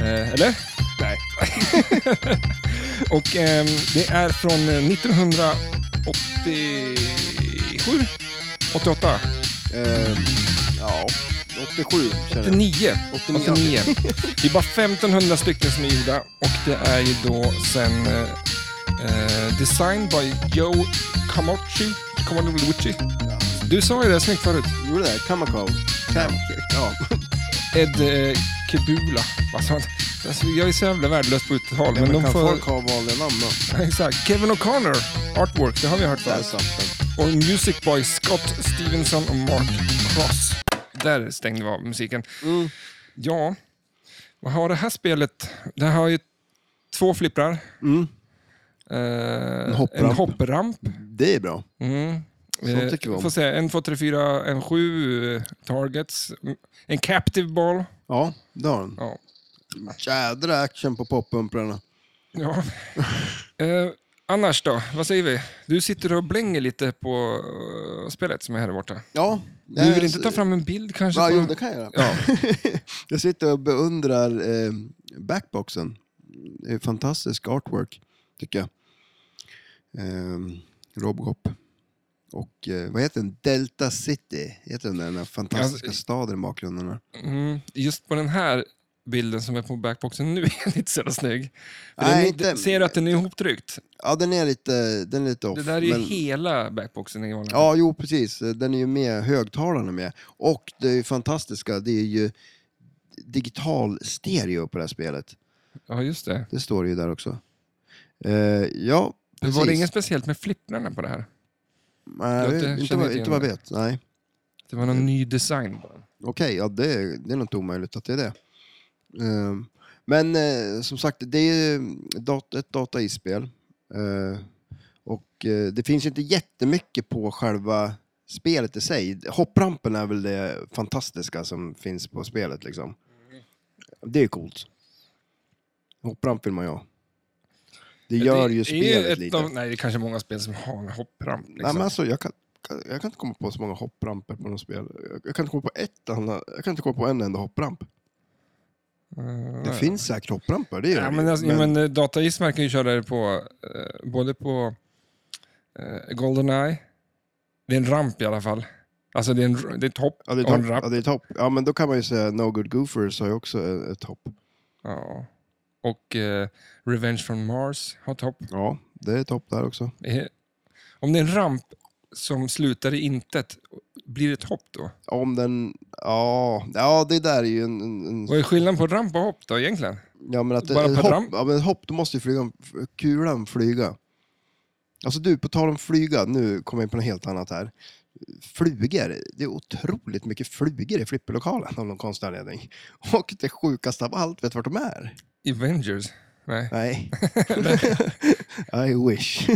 S1: Eh, eller? Nej. Och ehm, det är från eh, 1987? 88?
S2: Eh, ja, 87 känner jag.
S1: 89.
S2: 89.
S1: 89. Det är bara 1500 stycken som är gjorda och det är ju då sen eh, eh, Designed by Joe Camachi. Camalucci. Du sa ju det snyggt förut.
S2: Gjorde det? Kamakov? Kam- Ja.
S1: Ed eh, Kebula. Alltså, han- alltså, jag är så jävla värdelös på uttal.
S2: Men
S1: men de
S2: kan
S1: får...
S2: folk ha vanliga namn då?
S1: Exakt. Kevin O'Connor, artwork, det har vi hört
S2: Där
S1: förut.
S2: satt den.
S1: och Music Boy Scott Stevenson och Mark Cross. Där stängde vi av musiken.
S2: Mm.
S1: Ja, vad har det här spelet? Det har ju två flipprar.
S2: Mm.
S1: Eh, en
S2: hoppramp.
S1: hoppramp.
S2: Det är bra.
S1: Mm.
S2: Sånt tycker vi om.
S1: får se, en, två, tre, fyra, en sju eh, targets. En captive ball.
S2: Ja, det har den.
S1: Ja.
S2: Jädra action på poppumprarna.
S1: ja. eh, annars då, vad säger vi? Du sitter och blänger lite på eh, spelet som är här borta.
S2: Ja.
S1: Du vill inte ta fram en bild kanske?
S2: Ja,
S1: på-
S2: jo, det kan jag göra.
S1: Ja.
S2: jag sitter och beundrar eh, backboxen. Det är fantastisk artwork, tycker jag. Eh, Robocop. Och eh, vad heter den? Delta City. Heter den där, den här fantastiska
S1: Ja,
S2: staden i bakgrunden? där.
S1: Mm, just på den här bilden som är på backboxen nu är den inte så jävla snygg. För
S2: Nej,
S1: den,
S2: inte-
S1: Ser du att den är ihoptryckt?
S2: Ja, den är lite, den är lite off.
S1: Det där är ju
S2: men-
S1: hela backboxen i vanliga
S2: Ja, jo precis. Den är ju med, högtalarna är med. Och det är ju fantastiska, det är ju digital stereo på det här spelet.
S1: ja, just det.
S2: Det står det ju där också. Eh, ja,
S1: Men
S2: precis.
S1: Var det inget speciellt med flipprarna på det här?
S2: Nej,
S1: Jag
S2: inte,
S1: känner
S2: vad,
S1: inte
S2: inte vad jag
S1: igen
S2: vet. Nej.
S1: Det var
S2: Mm.
S1: någon ny design bara.
S2: Okej, ja, det, det är nog inte omöjligt att det är det. Ehm, men eh, som sagt, det är ju dat- ett data spel Eh, och eh, det finns ju inte jättemycket på själva spelet i sig. Hopprampen är väl det fantastiska som finns på spelet. Liksom. Det är coolt. Hoppramp vill man ju ha. Det gör ju
S1: Det är
S2: spelet
S1: ett
S2: lite.
S1: Av, nej, det är kanske många spel som har en hoppramp. Liksom.
S2: Nej, men alltså, jag, kan, kan- jag kan inte komma på så många hoppramper på något spel. Jag, jag, kan inte komma på ett, annat- jag kan inte komma på en enda hoppramp.
S1: Eh,
S2: Det finns säkert hoppramper, det gör
S1: Ja,
S2: det
S1: men,
S2: ju.
S1: alltså, men... men eh, Data East verkar ju köra det på, eh, både på eh, Goldeneye, det är en ramp i alla fall. Alltså det är, en, r- det är ett hopp
S2: ja, det är ett
S1: och en
S2: hopp.
S1: ramp.
S2: Ja, det är ett hopp. Ja, men då kan man ju säga No Good Goofers har ju också e- ett hopp.
S1: Ja. Och eh, Revenge from Mars har ett hopp.
S2: Ja, det är ett hopp där också.
S1: Eh, Om det är en ramp som slutar i intet, blir det ett hopp då?
S2: Om den... Ja, ja det där är ju en... en, en
S1: Vad är skillnaden på ramp och hopp då egentligen?
S2: ja, men att
S1: bara
S2: ett
S1: per
S2: hopp,
S1: ramp?
S2: ja, men ett hopp, då måste ju flyga, kulan flyga. Alltså du, på tal om flyga, nu kommer jag in på något helt annat här. Flugor, det är otroligt mycket flugor i flipperlokalen av någon konstig anledning. Och det sjukaste av allt, vet du vart de är?
S1: Avengers? Nej.
S2: Nej. I wish.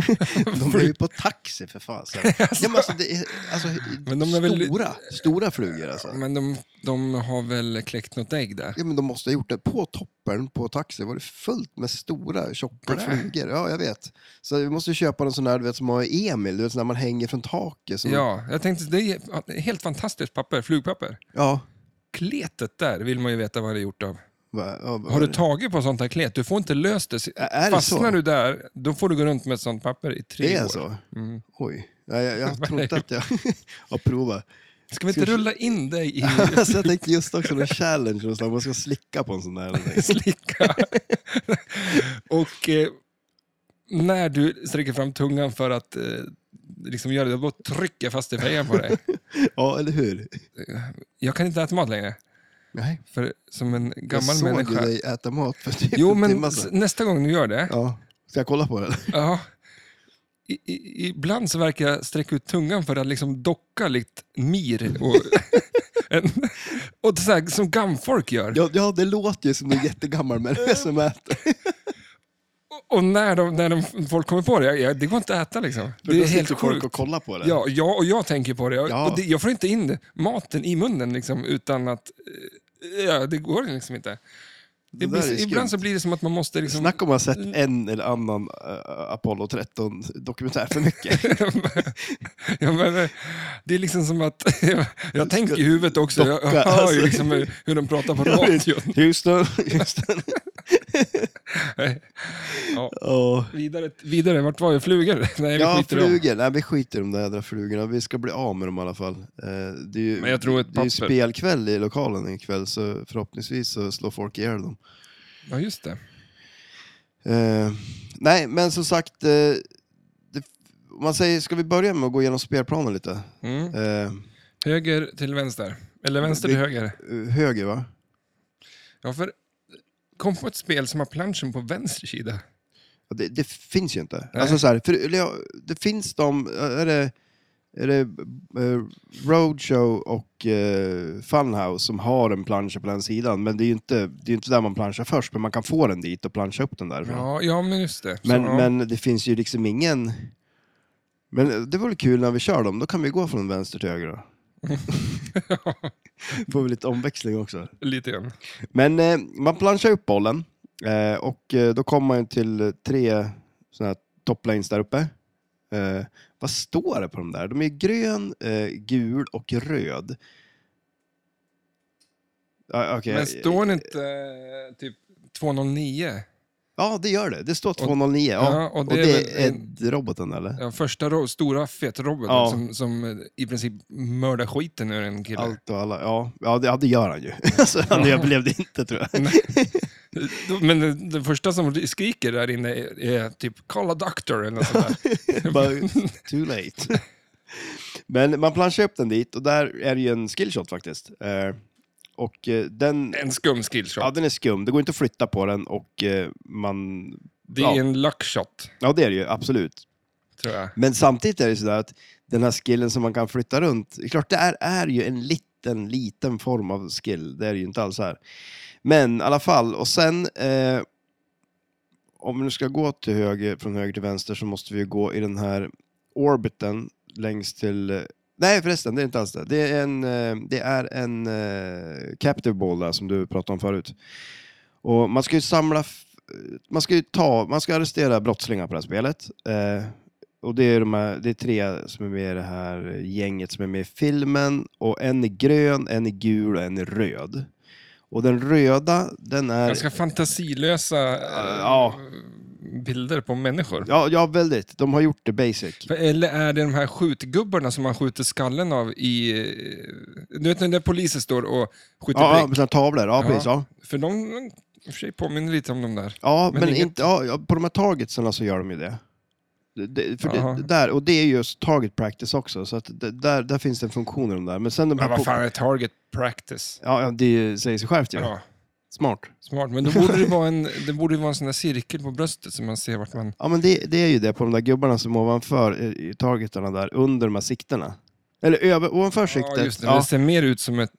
S2: De är ju på taxi för fan. Så. Ja, men alltså, det är, alltså,
S1: Men de är väl-
S2: stora, stora flugor alltså.
S1: Men de, de har väl kläckt något ägg där?
S2: Ja, men de måste ha gjort det. På toppen på taxi var det fullt med stora tjocka flugor. Ja, jag vet. Så vi måste ju köpa någon sån där du vet, som har Emil, du vet, sån där man hänger från taket. Som,
S1: Ja, jag tänkte det är ja, det är helt fantastiskt papper, flugpapper.
S2: ja.
S1: Kletet där vill man ju veta vad det är gjort av.
S2: Va- ja, va-
S1: Har du tagit på sånt här klet? Du får inte löst det.
S2: Ä- är det
S1: Fastnar
S2: så?
S1: du där, då får du gå runt med ett sånt papper i tre
S2: det är
S1: år. Mm.
S2: så? Oj. Ja, jag, jag har trott att jag... ja, prova.
S1: Ska vi inte rulla in dig i
S2: Alltså, jag tänkte just också någon challenge, någonstans. man ska slicka på en sån där. eller någonting.
S1: slicka. och eh, när du sträcker fram tungan för att eh, liksom göra det, då trycker jag fast i fejan på dig.
S2: Ja, eller hur?
S1: Jag kan inte äta mat längre,
S2: Nej,
S1: för som en
S2: jag
S1: gammal
S2: såg ju
S1: människa.
S2: dig äta mat för typ
S1: Jo,
S2: en
S1: men
S2: timme
S1: s-
S2: sedan.
S1: nästa gång du gör det,
S2: Ja. Ska jag kolla på det? eller?
S1: ja. I, i, ibland så verkar jag sträcka ut tungan för att liksom docka likt mir. Och, en, och så här, som gamfolk gör.
S2: Ja, ja, det låter ju som en jättegammal människa som äter.
S1: Och när, de, när de, folk kommer på det, jag- jag, det går inte att äta liksom.
S2: För
S1: Det
S2: då
S1: är
S2: sitter
S1: helt
S2: folk
S1: sjukt.
S2: och kollar på det.
S1: Ja, jag, och jag tänker på det. Jag,
S2: Ja.
S1: och det, jag får inte in maten i munnen liksom, utan att... eh, Ja, det går liksom inte.
S2: Det där
S1: Ibland-
S2: är skumt.
S1: Ibland så blir det som att man måste... Liksom,
S2: Snacka om att ha sett en eller annan eh, Apollo 13-dokumentär för mycket.
S1: ja, men, eh, det är liksom som att... jag tänker i huvudet också. Jag, jag
S2: docka,
S1: hör ju
S2: alltså.
S1: liksom hur, hur de pratar på
S2: Ja,
S1: radion.
S2: Houston, Houston.
S1: Ja.
S2: Ja.
S1: Vidare, vidare, vart var jag? Flugor? Nej, vi
S2: Ja,
S1: skiter i dem.
S2: flugor. Nej, vi skiter i de där jädra flugorna. Vi ska bli av med dem i alla fall. Eh, Det är ju,
S1: Men jag tror ett
S2: det är ju
S1: papper.
S2: spelkväll i lokalen ikväll, så förhoppningsvis så slår folk ihjäl dem.
S1: Ja, just det.
S2: Eh, nej, men som sagt, eh, det, om man säger, ska vi börja med att gå igenom spelplanen lite?
S1: Mm.
S2: Eh,
S1: Höger till vänster. Eller vänster till
S2: Vi-
S1: höger.
S2: höger, va?
S1: Ja, för kom på ett spel som har planschen på vänster sida.
S2: Ja, Det, det finns ju inte.
S1: Nej.
S2: Alltså så här, för, eller ja, det finns de, är det, är det eh, Roadshow och eh, Funhouse som har en plansch på den sidan, men det är ju inte, det är ju inte där man planschar först, men man kan få den dit och planscha upp den därifrån.
S1: Ja, ja men just det. Så,
S2: men,
S1: ja.
S2: men det finns ju liksom ingen... Men det vore kul när vi kör dem, då kan vi gå från vänster till höger då. Får vi lite omväxling också.
S1: Lite grann.
S2: Men eh, man planchar upp bollen eh, och eh, då kommer man ju till tre såna här toplanes där uppe. Eh, vad står det på de där? De är grön, eh, gul och röd. Ja, okej.
S1: Men står det inte eh, typ 209?
S2: ja, det gör det. Det står 209. ja.
S1: ja, och
S2: och
S1: det
S2: det,
S1: är väl
S2: är
S1: en-
S2: Ed-roboten eller?
S1: Ja, första ro- stora fetroboten
S2: Ja.
S1: som, som eh, i princip mördar skiten ur en kille.
S2: Allt och alla. Ja, ja, det, ja det gör han ju. alltså, han överlevde inte tror jag.
S1: Men den, den första som skriker där inne är, är typ “Call a doctor” eller något sånt där.
S2: Bara, too late. Men man planchar upp den dit och där är det ju en skillshot faktiskt. Eh, och eh, den,
S1: En skum skillshot.
S2: ja, den är skum, det går inte att flytta på den och eh, man...
S1: det är
S2: ja.
S1: en luckshot,
S2: Ja, det är det ju, absolut.
S1: tror jag.
S2: Men samtidigt är det sådär att den här skillen som man kan flytta runt, det är klart det är, är ju en liten, liten form av skill. Det är det ju inte alls här. Men i alla fall, och sen eh, om vi nu ska gå till höger, från höger till vänster så måste vi ju gå i den här orbiten längst till eh, Nej förresten, det är inte alls det. Det är en, eh, det är en eh, captive ball där som du pratade om förut. Och man ska ju samla, f- man ska ju ta, man ska arrestera brottslingar på det här spelet. Eh, och det är, de här, det är tre som är med i det här gänget som är med i filmen. Och en är grön, en är gul och en är röd. Och den röda, den är...
S1: Ganska fantasilösa eh,
S2: Ja.
S1: bilder på människor.
S2: Ja, ja, väldigt. De har gjort det basic.
S1: För- Eller är det de här skjutgubbarna som man skjuter skallen av i... eh, Du vet när polisen står och skjuter
S2: Ja, ja,
S1: prick?
S2: med sina tavlor. Ja, precis. Ja.
S1: För de i och för sig påminner lite om de där.
S2: Ja,
S1: Men
S2: men,
S1: inget-
S2: inte, ja, ja, på de här targetsen så gör de ju det. Det- det, för
S1: Jaha.
S2: det, där, och det är just target practice också, så att det, där, där finns det en funktion i de där. Men sen de här
S1: Men vad
S2: på-
S1: fan är target practice?
S2: Ja, ja, det är ju- säger sig självt ju.
S1: Ja,
S2: Smart.
S1: smart. Men då borde det vara en, det borde vara en sån där cirkel på bröstet så man ser vart man...
S2: Ja, men det, det är ju det på de där gubbarna som ovanför eh, targetarna där, under de här sikterna. Eller över, ovanför siktet.
S1: Ja, just det.
S2: Ja,
S1: Det ser mer ut som ett...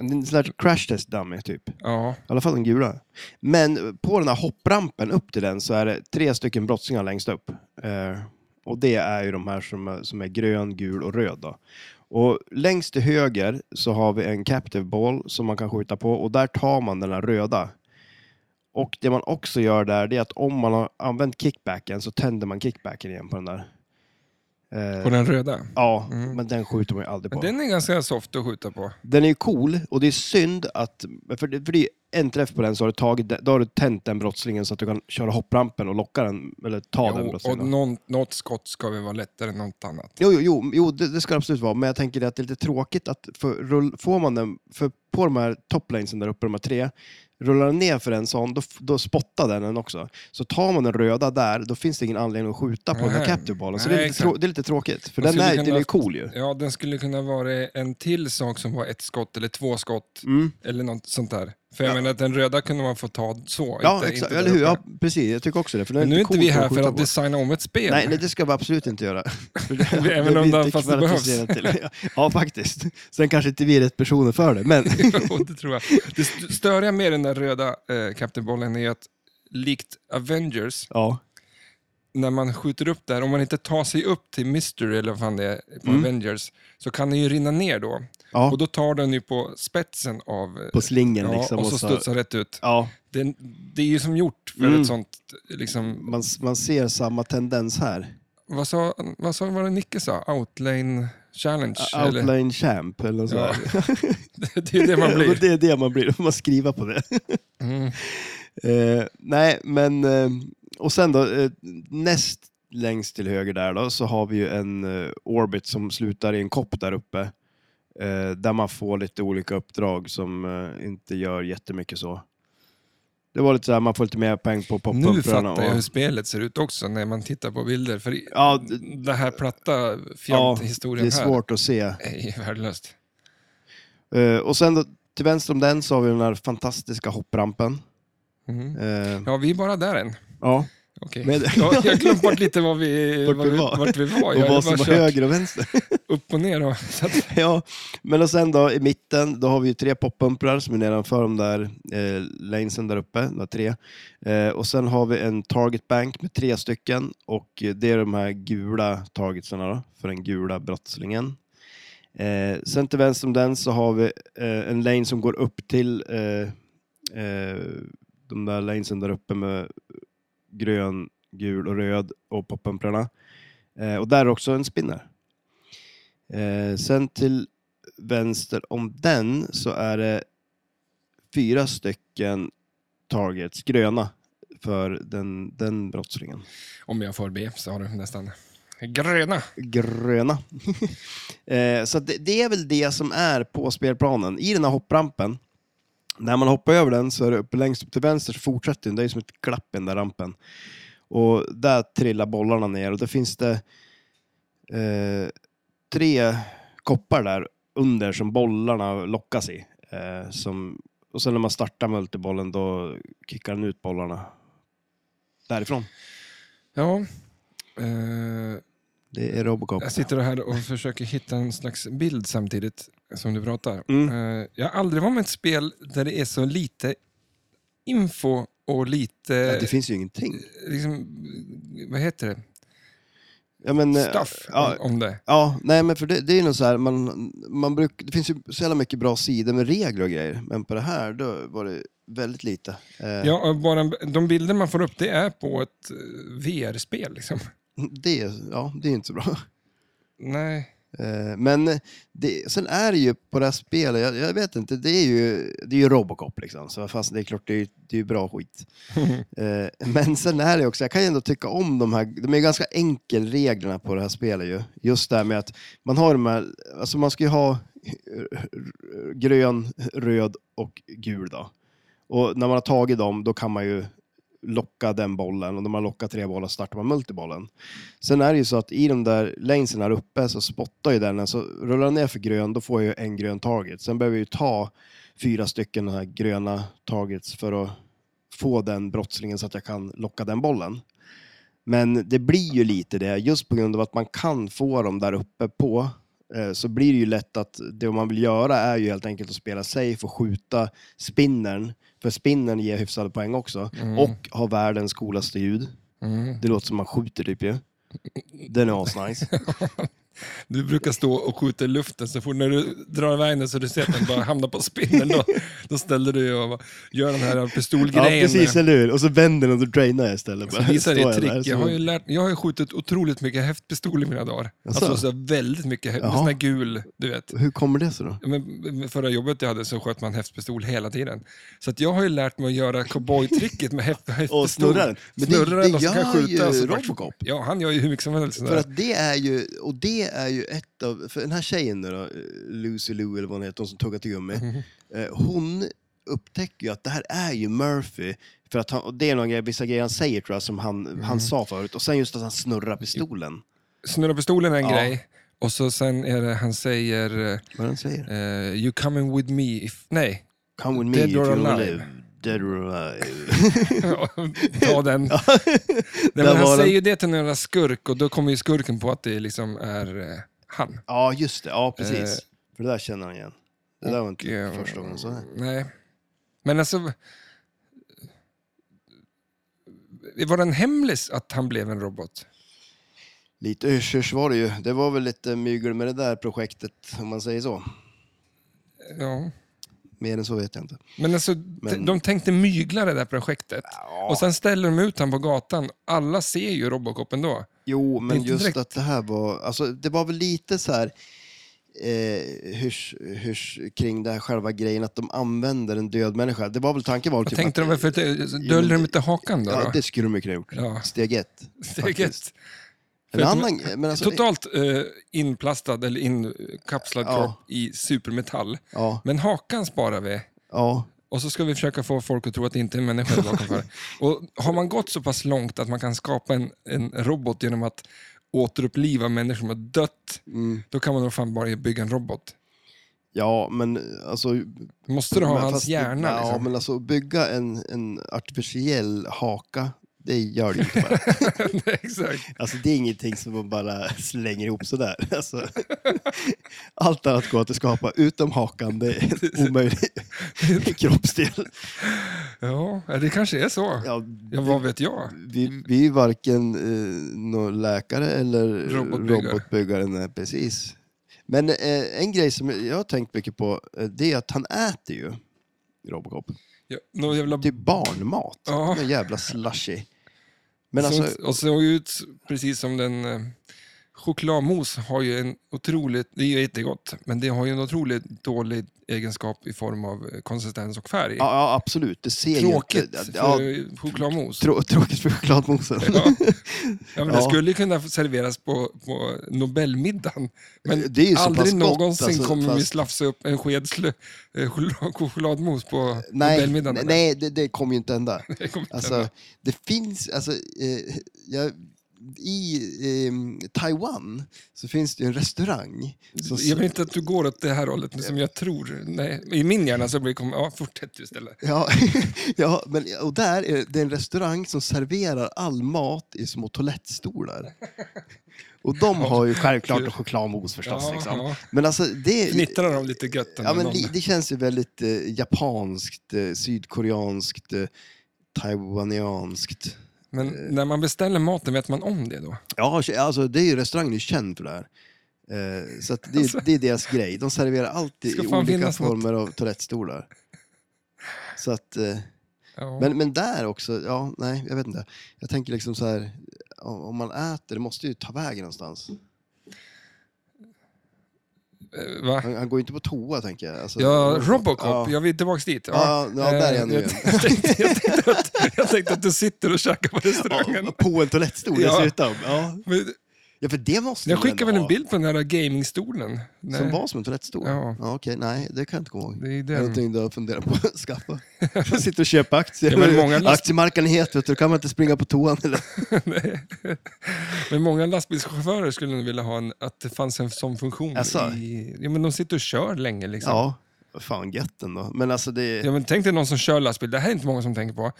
S2: en sån där crash test dummy typ.
S1: Ja,
S2: I alla fall den gula. Men på den här hopprampen upp till den så är det tre stycken brottslingar längst upp. Eh, och det är ju de här som är, som är grön, gul och röd. Då. Och längst till höger så har vi en captive ball som man kan skjuta på och där tar man den här röda. Och det man också gör där det är att om man har använt kickbacken så tänder man kickbacken igen på den där. Eh,
S1: på den röda.
S2: Ja, men den skjuter man ju aldrig på.
S1: Mm. Men den är ganska soft att skjuta på.
S2: Den är ju cool och det är synd att, för det, för det är en träff på den så har du tagit, den- då har du tänt den brottslingen så att du kan köra hopprampen och locka den, eller ta den
S1: Jo, och
S2: brottslingen.
S1: någon, något skott ska väl vara lättare än något annat.
S2: Jo, jo, jo, jo det, det ska det absolut vara, men jag tänker det att det är lite tråkigt att för, rull, får man den, för på de här toplanesen där uppe, de här tre, Rullar den ner för en sån, då, f- då spottar den den också. Så tar man den röda där, då finns det ingen anledning att skjuta på den
S1: Nej.
S2: här capture ballen. Så
S1: Nej,
S2: det, är lite
S1: exakt.
S2: trå- det är lite tråkigt, för
S1: Man
S2: den,
S1: skulle
S2: är,
S1: kunna
S2: den är ju
S1: haft-
S2: cool ju.
S1: Ja, den skulle kunna vara en till sak som var ett skott eller två skott.
S2: Mm.
S1: Eller något sånt där. För jag menar att den röda kunde man få ta så.
S2: Ja,
S1: inte-
S2: exakt.
S1: inte
S2: Eller hur?
S1: den
S2: Ja,
S1: uppe.
S2: precis. Jag tycker också det. För den
S1: Men nu är
S2: lite
S1: inte vi
S2: cool
S1: här för
S2: skjuta
S1: att
S2: på.
S1: designa om ett spel.
S2: Nej, nej, det ska vi absolut inte göra. För det-
S1: Även
S2: det
S1: om
S2: blir
S1: den-
S2: inte
S1: fast det behövs.
S2: kvalificerat Till. Ja, faktiskt. Sen kanske inte vi är rätt personer för det, men...
S1: Jo, det tror jag. Det st- störiga med den där röda eh, Captain Bollen är att likt Avengers,
S2: Ja.
S1: när man skjuter upp där, om man inte tar sig upp till Mystery eller vad fan det är på Avengers, så kan den ju rinna ner då.
S2: Mm. Ja.
S1: Och då tar den ju på spetsen av... eh,
S2: På slingen
S1: ja,
S2: liksom.
S1: Och så studsar rätt ut.
S2: Ja, Mm.
S1: Det, det är ju som gjort för ett sånt, liksom,
S2: man, man ser samma tendens här.
S1: vad sa, vad sa vad det Nicke sa? Outlane Challenge? Eller?
S2: Outline champ eller så.
S1: Ja,
S2: här.
S1: det är det man
S2: Och
S1: blir. Mm.
S2: det är det man blir, man skriver på det. Eh, nej, men... eh, och sen då, eh, näst längst till höger där då, så har vi ju en eh, orbit som slutar i en kopp där uppe. Eh, där man får lite olika uppdrag som eh, inte gör jättemycket så. Det var lite så här, man får lite mer poäng på poppumprarna.
S1: Nu fattar jag
S2: och-
S1: hur spelet ser ut också när man tittar på bilder. För i-
S2: Ja, d-
S1: den här platta
S2: ja,
S1: fjanthistorien
S2: det är svårt att se.
S1: här är ju värdelöst.
S2: Eh, och sen då, till vänster om den så har vi den här fantastiska hopprampen.
S1: Mhm.
S2: Eh,
S1: Ja, vi är bara där än.
S2: ja.
S1: Okej.
S2: Men-
S1: Ja, jag har glömt bort lite vad vi,
S2: Vart
S1: vad
S2: vi
S1: vi,
S2: var.
S1: vart vi var.
S2: Och
S1: Jag har
S2: vad som
S1: bara
S2: var
S1: kört
S2: höger och vänster.
S1: upp och ner. Och, så att,
S2: ja. Men och sen då i mitten, då har vi ju tre poppumprar som är nedanför de där eh, lanesen där uppe, de där tre. Eh, och sen har vi en target bank med tre stycken och eh, det är de här gula targetsarna då, för den gula brottslingen. Eh, sen till vänster om den så har vi eh, en lane som går upp till eh, eh, de där lanesen där uppe med grön, gul och röd och poppumprarna. Eh, och där är också en spinner. Eh, sen till vänster om den så är det fyra stycken targets, gröna, för den, den brottslingen.
S1: om jag får be så har du nästan gröna.
S2: Gröna. eh, så det, det är väl det som är på spelplanen. I den här hopprampen, när man hoppar över den så är det upp längst upp till vänster så fortsätter den. Det är som ett glapp i den där rampen. Och där trillar bollarna ner och då finns det eh, tre koppar där under som bollarna lockas i. Eh, som, och sen när man startar multibollen då kickar den ut bollarna därifrån.
S1: Ja. Eh,
S2: Det är Robocop.
S1: Jag sitter här och försöker hitta en slags bild samtidigt som du pratar.
S2: Mm.
S1: Eh, Jag har aldrig varit med i ett spel där det är så lite info och lite...
S2: Ja, det finns ju ingenting.
S1: liksom, vad heter det?
S2: Ja, men, eh,
S1: Stuff
S2: Ja,
S1: om, om det.
S2: ja, nej men för det, det är ju nog så här, man, man bruk, det finns ju så jävla mycket bra sidor med regler och grejer, men på det här då var det väldigt lite. Eh,
S1: Ja, och bara, en- de bilder man får upp det är på ett eh, VR-spel. Liksom.
S2: Det, ja, det är inte så bra.
S1: Nej.
S2: Eh, men det, sen är det ju på det här spelet, jag, jag vet inte, det är ju, det är ju Robocop liksom, så fast det är klart det är, ju- det är ju bra skit. Eh, men sen är det också, jag kan ju ändå tycka om de här, de är ju ganska enkel reglerna på det här spelet ju. Just det här med att man har de här, alltså man ska ju ha grön, röd och gul då. Och när man har tagit dem, då kan man ju locka den bollen och när man lockar tre bollar startar man multibollen. Sen är det ju så att i de där lanesen här uppe så spottar ju den, så rullar den ner för grön då får jag ju en grön target. Sen behöver jag ju ta fyra stycken den här gröna targets för att få den brottslingen så att jag kan locka den bollen. Men det blir ju lite det, just på grund av att man kan få dem där uppe på eh, så blir det ju lätt att det man vill göra är ju helt enkelt att spela safe och skjuta spinnern, för spinnern ger hyfsade poäng också,
S1: Mm.
S2: och har världens coolaste ljud. Det låter som man skjuter typ ju. Den är asnice.
S1: Du brukar stå och skjuta i luften så fort när du drar iväg den så du ser att den bara hamnar på spinnen. Då, då ställer du dig och gör den här
S2: ja,
S1: pistolgrejen.
S2: precis, eller hur? Och så vänder den och så drainar jag istället.
S1: Så Alltså, visar
S2: Står
S1: det ett
S2: jag där
S1: trick. Jag
S2: som-
S1: har, ju lärt, jag har ju skjutit otroligt mycket häftpistol i mina dagar.
S2: Jaså?
S1: Alltså så väldigt mycket, häft-
S2: Jaha.
S1: sån här gul, du vet.
S2: Hur kommer det sig då?
S1: Ja, Men med förra jobbet jag hade så sköt man häftpistol hela tiden. Så att jag har ju lärt mig att göra cowboytricket med häft, häftpistol.
S2: Och snurra den. Men det-
S1: Snurra den
S2: det
S1: och så kan jag
S2: gör ju
S1: skjuta. och så bara-
S2: Robocop.
S1: Ja, han gör ju hur mycket som helst.
S2: För att det är ju, och det är ju ett
S1: Mm.
S2: av, för den här tjejen nu då, eh, Lucy Lou eller vad hon heter, hon som tuggar tuggummi. eh, Hon upptäcker ju att det här är ju Murphy. För att han, och det är några grejer, vissa grejer han säger tror jag, som han,
S1: Mm.
S2: han sa förut. Och sen just att han snurrar pistolen.
S1: Snurra pistolen är en
S2: Ja.
S1: grej. Och så sen är det, han säger... eh,
S2: Vad han säger?
S1: eh, you coming with me if... Nej.
S2: Come with me
S1: Dead
S2: if you
S1: or
S2: wanna
S1: alive.
S2: live. Dead or alive.
S1: Ta den. Nej,
S2: Där
S1: men han
S2: var den.
S1: säger ju det till en jävla skurk och då kommer ju skurken på att det liksom är eh, han.
S2: ja, just det. Ja, precis.
S1: Eh,
S2: För det där känner han igen. Det där var inte
S1: eh,
S2: första gången så här.
S1: Nej. Men alltså... Var det en hemlis att han blev en robot?
S2: Lite yrsers var det ju. Det var väl lite mygel med det där projektet, om man säger så.
S1: Ja.
S2: Mer än så vet jag inte.
S1: Men alltså, t- de tänkte mygla det där projektet. Och sen ställer de ut han på gatan. Alla ser ju Robocop ändå.
S2: Jo, men
S1: inte
S2: just
S1: direkt-
S2: att det här var, alltså det var väl lite så här eh, hysch, hysch kring det här själva grejen att de använder en död människa. Det var väl tanken var väl
S1: Vad
S2: typ
S1: tänkte
S2: att,
S1: de väl? För att, döljer de inte hakan då?
S2: Ja,
S1: då?
S2: det skulle de ju kunna gjort.
S1: Ja.
S2: Steg ett.
S1: Steget.
S2: faktiskt.
S1: För
S2: En
S1: att de-
S2: annan, men alltså,
S1: Totalt eh, inplastad eller inkapslad
S2: Ja.
S1: kropp i supermetall.
S2: Ja.
S1: Men hakan sparar vi.
S2: Ja,
S1: Och så ska vi försöka få folk att tro att det inte är en människa bakom för. Och har man gått så pass långt att man kan skapa en, en robot genom att återuppliva människor som har dött,
S2: Mm.
S1: då kan man nog fan bara bygga en robot.
S2: ja, men alltså...
S1: Måste du ha
S2: men
S1: hans
S2: fast-
S1: hjärna?
S2: Ja,
S1: liksom?
S2: men alltså bygga en, en artificiell haka, det gör det ju inte bara.
S1: Exakt.
S2: Alltså det är ingenting som man bara slänger ihop sådär. Alltså, allt annat går att skapa, utom hakan. Det är en omöjlig kroppsdel.
S1: Ja, det kanske är så. Ja.
S2: Ja,
S1: vad vet jag?
S2: vi, vi är varken eh, någon läkare eller
S1: Robotbyggare.
S2: robotbyggare. Nej, precis. Men eh, en grej som jag har tänkt mycket på, eh, det är att han äter ju Robocop.
S1: Ja, någon jävla...
S2: Det är barnmat.
S1: Ja.
S2: Någon jävla slushy. Men
S1: Sånt-
S2: alltså,
S1: Och såg ut precis som den... Eh, chokladmos har ju en otroligt... Det är ju jättegott, men det har ju en otroligt dålig egenskap i form av eh, konsistens och färg.
S2: ja, ja absolut. Det ser
S1: Tråkigt
S2: ju inte...
S1: för
S2: Ja,
S1: chokladmos.
S2: trå- tråkigt för chokladmosen.
S1: Ja. Ja, men det
S2: Ja.
S1: skulle ju kunna serveras på, på Nobelmiddagen, men
S2: Det är ju så
S1: aldrig
S2: pass gott,
S1: någonsin
S2: alltså,
S1: kommer vi
S2: fast-
S1: slafsa upp en sked slö- eh, choklad- chokladmos på
S2: Nej,
S1: Nobelmiddagen.
S2: nej,
S1: eller?
S2: nej det, det kommer ju inte hända.
S1: Det kommer inte
S2: Alltså,
S1: hända.
S2: det finns, alltså, eh, jag, i ehm, Taiwan så finns det ju en restaurang. Som,
S1: Jag vill inte att du går åt det här hållet men som jag tror. Nej, I min hjärna så blir det... kom- Ja, fortsätt du istället.
S2: ja, ja, men, och där är det är en restaurang som serverar all mat i små toalettstolar. Och de har ju
S1: kul.
S2: självklart chokladmos förstås.
S1: Ja,
S2: liksom.
S1: ja.
S2: Men alltså, det,
S1: Fnittrar de lite gött
S2: ja, men,
S1: någon-
S2: li- det känns ju väldigt eh, japanskt, eh, sydkoreanskt, eh, taiwanianskt.
S1: men när man beställer maten, vet man om det då?
S2: Ja, alltså det är ju restaurangen är känd för det här. Eh, Så att det, det är deras grej. De serverar alltid
S1: Ska
S2: i
S1: fan
S2: olika
S1: finnas något.
S2: former av toalettstolar. Så att, eh,
S1: Ja.
S2: men, men där också, ja, nej, jag vet inte. Jag tänker liksom så här, om om man äter, det måste ju ta vägen någonstans.
S1: Eh, Va?
S2: Han, han går ju inte på toa, tänker jag. Alltså,
S1: Ja, Robocop,
S2: Ja.
S1: jag vill tillbaka dit.
S2: Ja, ja, där är han
S1: Eh,
S2: igen.
S1: jag, tänkte, jag, tänkte att, jag tänkte att du sitter och käkar på restaurangen.
S2: Ja, På en toalettstol
S1: Ja.
S2: dessutom. Ja.
S1: Men
S2: ja, för det måste
S1: Jag
S2: vi ändå
S1: skickar väl en
S2: ha.
S1: bild på den här gamingstolen? Nej.
S2: Som var som en toalettstol?
S1: Ja.
S2: Okej, nej, det kan jag inte komma ihåg.
S1: Det är den.
S2: någonting du har funderat på att skaffa. Jag sitter och köper aktier.
S1: Ja, men många last-
S2: Aktiemarknaden är het, vet du. Då kan man inte springa på toan. Eller?
S1: Men många lastbilschaufförer skulle nog vilja ha en, att det fanns en sån funktion.
S2: Jaså?
S1: I, ja, men de sitter och kör länge. Liksom.
S2: Ja, fan gött ändå. Men alltså det...
S1: Ja, men tänk dig någon som kör lastbil, det här är inte många som tänker på.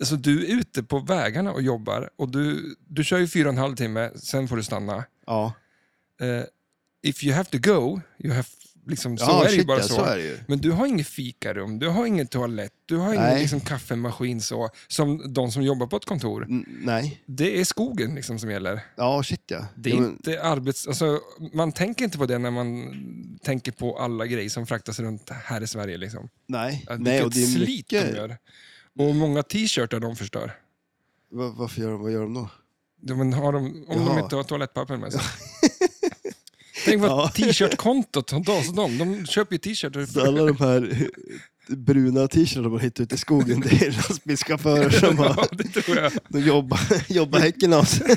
S1: Alltså, du är ute på vägarna och jobbar och du, du kör ju fyra och en halv timme, sen får du stanna.
S2: Ja.
S1: Eh, if you have to go, you have, liksom, så
S2: Ja,
S1: är det ju
S2: shit,
S1: bara
S2: ja,
S1: så.
S2: så är det ju.
S1: Men du har inget fikarum, du har ingen toalett, du har ingen
S2: Nej.
S1: liksom, kaffemaskin så, som de som jobbar på ett kontor.
S2: N- nej.
S1: Det är skogen liksom, som gäller.
S2: Ja, shit ja.
S1: Det är
S2: ja, men,
S1: inte arbets... Alltså, man tänker inte på det när man tänker på alla grejer som fraktas runt här i Sverige. Liksom.
S2: nej.
S1: Att
S2: nej,
S1: vilket
S2: och det är
S1: slit de
S2: mycket...
S1: gör. Och många t-shirtar de förstör.
S2: Va- Varför gör de, vad gör de då?
S1: De, men har de, om de
S2: Jaha.
S1: inte har toalettpapper med sig. Tänk vad
S2: Ja.
S1: t-shirtkontot hos dem, de köper ju t-shirtar.
S2: Så alla de här bruna t-shirtarna man hittar ute i skogen, det är lastbilschaufförer som
S1: Ja,
S2: har...
S1: det tror jag.
S2: De jobbar, jobbar häcken av sig.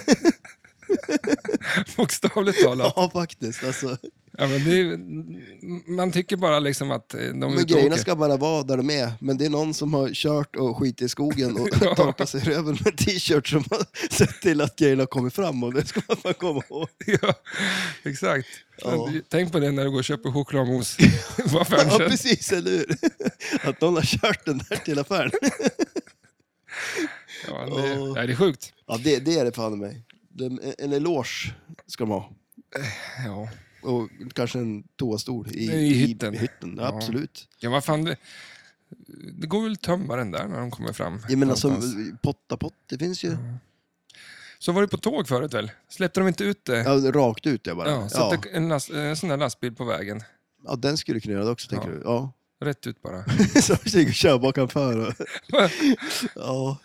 S1: Bokstavligt talat.
S2: Ja, faktiskt. Alltså.
S1: Ja, men det, är- man tycker bara liksom att eh, de är
S2: Men
S1: ute och
S2: grejerna
S1: åker.
S2: ska bara vara där de är. Men det är någon som har kört och skit i skogen och
S1: Ja.
S2: torkat sig i röven med t-shirt som har sett till att grejerna har kommit fram. Och det ska man bara komma ihåg.
S1: Ja, exakt.
S2: Ja.
S1: Men Tänk på det när du går och köper chokladmos på affären
S2: Ja,
S1: sen.
S2: precis, eller hur? Att någon har kört den där till affären.
S1: Ja, det,
S2: Ja.
S1: nej, det är sjukt.
S2: Ja, det, det är det fan i mig. Det- En eloge ska de ha.
S1: Ja.
S2: Och kanske en toastol i,
S1: I hytten.
S2: I hytten. Ja,
S1: Ja.
S2: Absolut.
S1: ja, vad fan. Det, det går väl att tömma den där när de kommer fram.
S2: Jag menar, som
S1: någonstans.
S2: potta pott, det finns ju.
S1: Så var det på tåg förut väl? Släppte de inte ut det?
S2: Ja, rakt ut jag bara.
S1: Ja,
S2: Ja,
S1: satte en, last, en sån där lastbil på vägen.
S2: ja, den skulle kunna göra det också, tänker
S1: Ja.
S2: du? Ja.
S1: Rätt ut bara.
S2: Så försöker köra bakanför. Och... ja.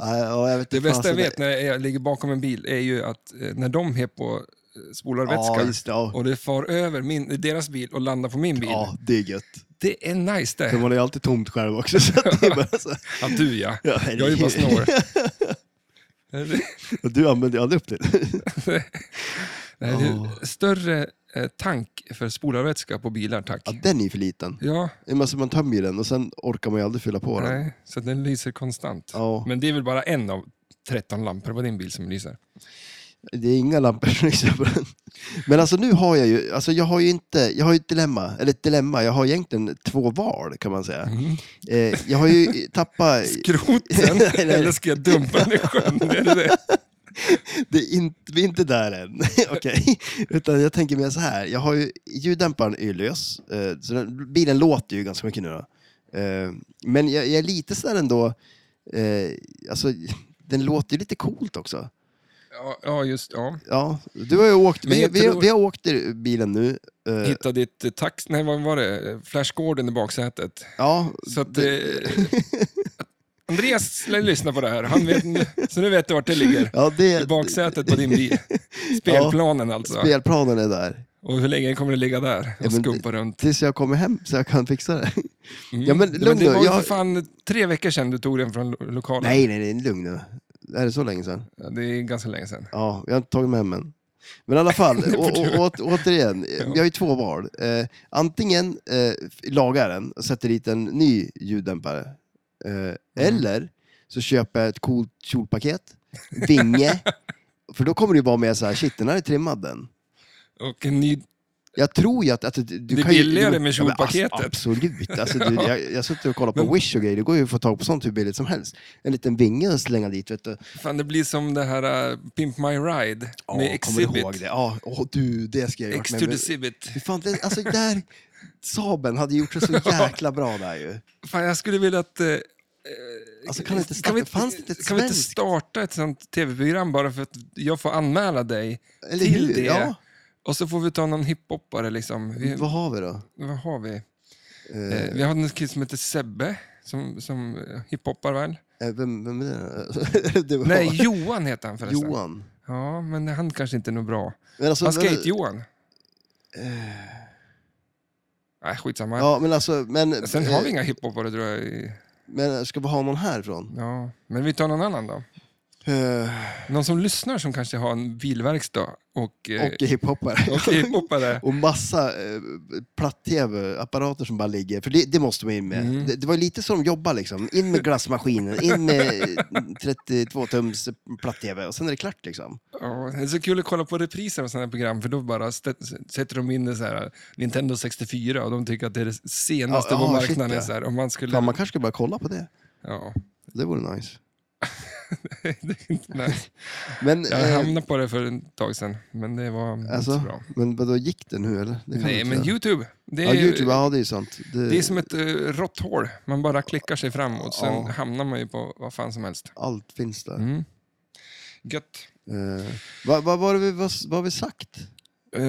S2: Nej, ja, jag vet
S1: Det
S2: inte
S1: bästa jag
S2: fasen.
S1: vet när jag är- ligger bakom en bil är ju att eh, när de är på eh, spolar
S2: Ja,
S1: vätska
S2: just det. Ja.
S1: och det far över min, deras bil och landar på min bil.
S2: ja, det är gött.
S1: Det är nice det.
S2: Men man är ju alltid tomt själv också. Så att det är bara så... här-
S1: Ja, du ja.
S2: Ja,
S1: Jag är ju bara snår.
S2: Och du använder ju aldrig upp det.
S1: Nej, det är
S2: Ja.
S1: Större eh, tank för spolarvätska på bilar, tack.
S2: Ja, den är ju för liten.
S1: Ja,
S2: Men Alltså, man tömmer ju den och sen orkar man ju aldrig fylla på den.
S1: nej, så att den lyser konstant.
S2: Ja.
S1: Men det är väl bara en av 13 lampor på din bil som lyser?
S2: Det är inga lampor som lyser på den. Men alltså nu har jag ju, alltså jag har ju inte, jag har ju ett dilemma, eller ett dilemma, jag har egentligen två val kan man säga.
S1: Mm.
S2: Eh, jag har ju tappat,
S1: Skroten,
S2: Nej, nej.
S1: eller ska jag dumpa den i sjön? Är det det?
S2: det är inte, vi är inte där än, okej. Utan jag tänker mer så här, jag har ju, ljuddämparen är ju lös, eh, så den, bilen låter ju ganska mycket nu då. Eh, men jag, jag är lite sådär ändå, eh, alltså den låter ju lite coolt också.
S1: Ja, ja, just ja.
S2: Ja, du har ju åkt,
S1: Men
S2: vi,
S1: jag
S2: vi,
S1: tror-
S2: vi har åkt i bilen nu. eh,
S1: Hitta ditt eh, tax... Nej, vad var det? Flash Gordon i baksätet.
S2: ja,
S1: Så att,
S2: det-
S1: eh, Andreas lär lyssna på det här. Han vet, så nu vet du vart det ligger.
S2: Ja,
S1: I
S2: det,
S1: baksätet på din bil. Spelplanen alltså.
S2: spelplanen är där.
S1: Och hur länge kommer det ligga där
S2: Ja,
S1: och
S2: men
S1: skumpa runt?
S2: Tills jag kommer hem så jag kan fixa det.
S1: Mm.
S2: Ja, men lugn
S1: det
S2: nu,
S1: var ju
S2: jag-
S1: för fan tre veckor sedan du tog den från lo- lokalen.
S2: Nej, nej, nej, lugn nu. Är det så länge sedan?
S1: Ja, Det är ganska länge sedan.
S2: Ja, jag har inte tagit med mig än. Men i alla fall, å, å, å, återigen, vi har ju två val. Eh, antingen eh, f- lagar jag den och sätter dit en ny ljuddämpare. Eh,
S1: Mm.
S2: Eller så köper jag ett coolt kjolpaket, vinge. För då kommer det ju vara med så här, shit den här är trimmad den.
S1: Och en ny...
S2: Jag tror ju att... att du, du
S1: Det är
S2: kan ju-
S1: billigare med
S2: Ja, men ass-
S1: kjolpaketet.
S2: Absolut. Alltså, du, jag, jag har suttit och kollat på
S1: Men-
S2: Wish och grejer. Det går ju att få tag på sånt hur billigt som helst. En liten vinge och slänga dit. Vet du.
S1: Fan, det blir som det här äh, Pimp My Ride
S2: Ja,
S1: med
S2: Kommer du ihåg
S1: Exhibit.
S2: det? Ja, åh, du, det ska jag ha
S1: Ex
S2: gjort.
S1: to
S2: Med.
S1: the
S2: Men,
S1: Exhibit.
S2: Hur fan, det, alltså där... Saben hade gjort det så jäkla bra där ju.
S1: Fan, jag skulle vilja att... eh,
S2: Alltså kan det inte
S1: kan vi,
S2: starta, fanns det inte ett
S1: kan vi inte
S2: svenskt?
S1: starta ett sånt tv-program bara för att jag får anmäla dig
S2: Eller
S1: till
S2: hur?
S1: det?
S2: Ja.
S1: Och så får vi ta någon hiphoppare liksom. Vi,
S2: Vad har vi då?
S1: Vad har vi? Eh, vi har en kille som heter Sebbe, som, som eh, hiphoppar väl?
S2: Eh, Vem, vem är det? det var
S1: Nej, Johan heter han förresten.
S2: Johan.
S1: Ja, men han kanske inte är något bra.
S2: Men alltså,
S1: Vad
S2: vem-
S1: Skate-Johan? Nej, skitsamma.
S2: Eh. Ja, men alltså... Men,
S1: Sen har vi
S2: eh,
S1: inga hiphoppare tror jag. i-
S2: Men ska vi ha någon härifrån?
S1: Ja. Men vi tar någon annan då.
S2: Eh,
S1: Någon som lyssnar som kanske har en bilverkstad och, eh,
S2: och hiphoppare.
S1: och hiphoppare.
S2: Och massa eh, platt-tv-apparater som bara ligger. För det, det måste man in med.
S1: Mm.
S2: Det, det var ju lite så de jobbade liksom. In med glassmaskinen, in med eh, 32-tums platt-tv och sen är det klart liksom.
S1: Ja, det är så kul att kolla på repriser av sådana här program för då bara stä- sätter de in det så här, eh, Nintendo 64 och de tycker att det är det senaste
S2: Ja,
S1: på
S2: ja,
S1: marknaden.
S2: shit, ja.
S1: så här, om man skulle...
S2: Fan, man kanske ska börja kolla på det.
S1: ja.
S2: Det vore nice.
S1: det är inte nice.
S2: Men,
S1: Jag
S2: eh,
S1: hamnade på det för ett tag sedan, men det var inte
S2: alltså,
S1: så bra.
S2: men vadå, gick det nu eller? Det kan
S1: Nej,
S2: inte
S1: men
S2: säga.
S1: YouTube. Det
S2: Ja,
S1: är,
S2: Youtube, ja det är sant. Det,
S1: det är som ett uh, rått hål. Man bara klickar sig framåt, sen
S2: Ja.
S1: hamnar man ju på vad fan som helst.
S2: Allt finns där.
S1: Mm. Gött.
S2: Eh, vad, vad, var det vi, vad, vad har vi sagt?
S1: Eh,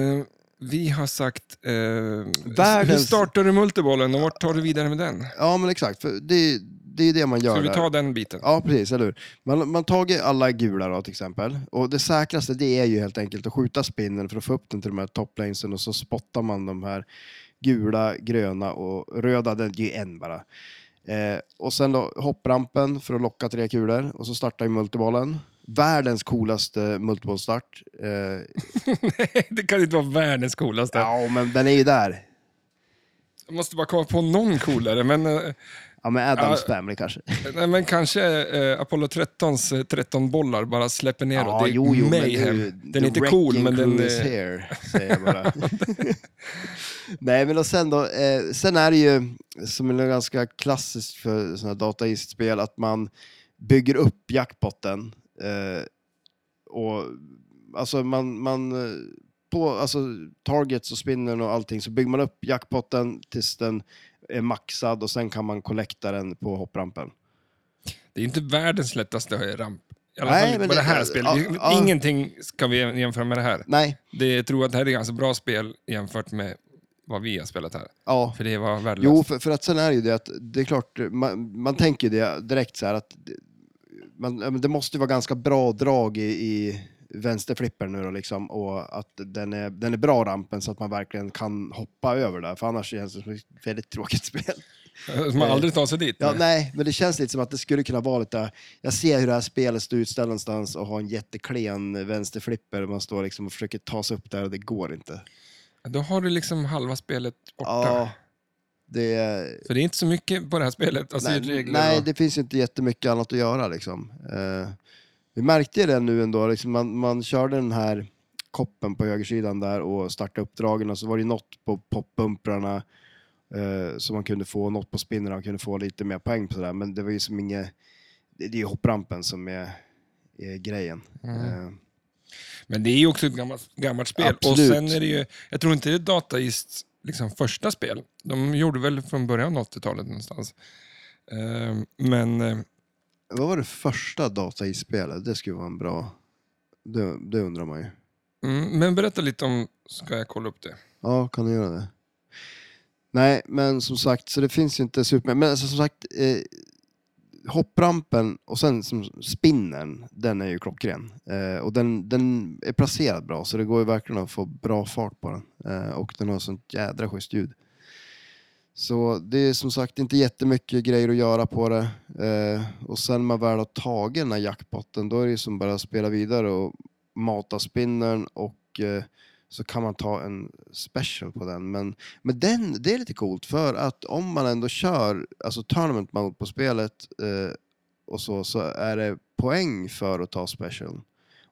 S1: vi har sagt, eh, hur
S2: Världens-
S1: startar du multibollen och vart tar du vidare med den?
S2: Ja, men exakt. För det, det är det man gör
S1: Ska vi
S2: där.
S1: ta den biten?
S2: Ja, precis. Eller hur? Man har tagit alla gula då, till exempel. Och det säkraste det är ju helt enkelt att skjuta spinnen för att få upp den till de här toplanesen och så spottar man de här gula, gröna och röda. Det är ju en bara. Eh, och sen då hopprampen för att locka tre kulor och så startar ju multibollen. världens coolaste multibollstart. Eh,
S1: det kan inte vara världens coolaste.
S2: ja, men den är ju där.
S1: Jag måste bara komma på någon coolare, men, eh,
S2: Ja, men Adams
S1: Ja.
S2: Family kanske.
S1: nej, men kanske eh, Apollo 13s eh, 13 bollar bara släpper neråt.
S2: Ja,
S1: det är
S2: jo, jo, men det är
S1: mayhem.
S2: ju-
S1: den
S2: the
S1: är inte cool,
S2: wrecking
S1: men den...
S2: crew is
S1: eh,
S2: here, säger jag bara. Nej, men och sen då, eh, sen är det ju som är ganska klassiskt för sådana dataistspel att man bygger upp jackpotten. Eh, och alltså man, man eh, på alltså, targets och spinnen och allting så bygger man upp jackpotten tills den är maxad och sen kan man kollekta den på hopprampen.
S1: Det är inte världens lättaste ramp. I alla
S2: Nej,
S1: fall inte
S2: men
S1: på det
S2: det-
S1: här spelet.
S2: ja,
S1: Vi-
S2: ja.
S1: Ingenting ska vi jämföra med det här.
S2: Nej,
S1: Det, jag tror att det här är ganska bra spel jämfört med vad vi har spelat här.
S2: ja.
S1: För det var värdelöst.
S2: Jo, för, för att sen är det ju det att det är klart, man, man tänker ju det direkt så här att det- man, ja, men det måste ju vara ganska bra drag i, i vänsterflippen nu då liksom och att den är, den är bra rampen så att man verkligen kan hoppa över där för annars känns det som ett väldigt tråkigt spel.
S1: Man aldrig tar sig dit.
S2: Ja, nej, men det känns lite som att det skulle kunna vara lite, jag ser hur det här spelet står utställt någonstans och har en jätteklen vänsterflipper och man står liksom och försöker ta sig upp där och det går inte.
S1: Då har du liksom halva spelet borta.
S2: Ja, det är...
S1: Så det är inte så mycket på det här spelet. Alltså,
S2: Nej,
S1: regler
S2: nej
S1: och...
S2: det finns ju inte jättemycket annat att göra liksom. Eh, vi märkte ju det nu ändå, liksom man, man körde den här koppen på högersidan där och startade uppdragen och så var det ju något på poppumprarna eh, som man kunde få, något på spinnerna man kunde få lite mer poäng på sådär, men det var ju som inget, det, det är ju hopprampen som är, är grejen. Eh,
S1: Men det är ju också ett gammalt, gammalt spel.
S2: Absolut.
S1: Och sen är det ju, jag tror inte det är Dataists liksom, första spel. De gjorde väl från början av 80-talet någonstans. Ehm, men eh,
S2: vad var det första data i spelet? Det skulle vara en bra, det, det undrar man ju.
S1: Mm, men berätta lite om, ska jag kolla upp det?
S2: Ja, kan du göra det? Nej, men som sagt, så det finns ju inte super... Men alltså, som sagt, eh, hopprampen och sen som spinnen, den är ju klockren. Eh, och den, den är placerad bra, så det går ju verkligen att få bra fart på den. Eh, och den har sånt jädra schysst ljud. Så det är som sagt inte jättemycket grejer att göra på det. Eh, och sen när man väl har tagit den här jackpotten, då är det ju som bara att spela vidare och mata spinnern och eh, så kan man ta en special på den. Men, men den, det är lite coolt för att om man ändå kör alltså tournament mode på spelet eh, och så, så är det poäng för att ta special.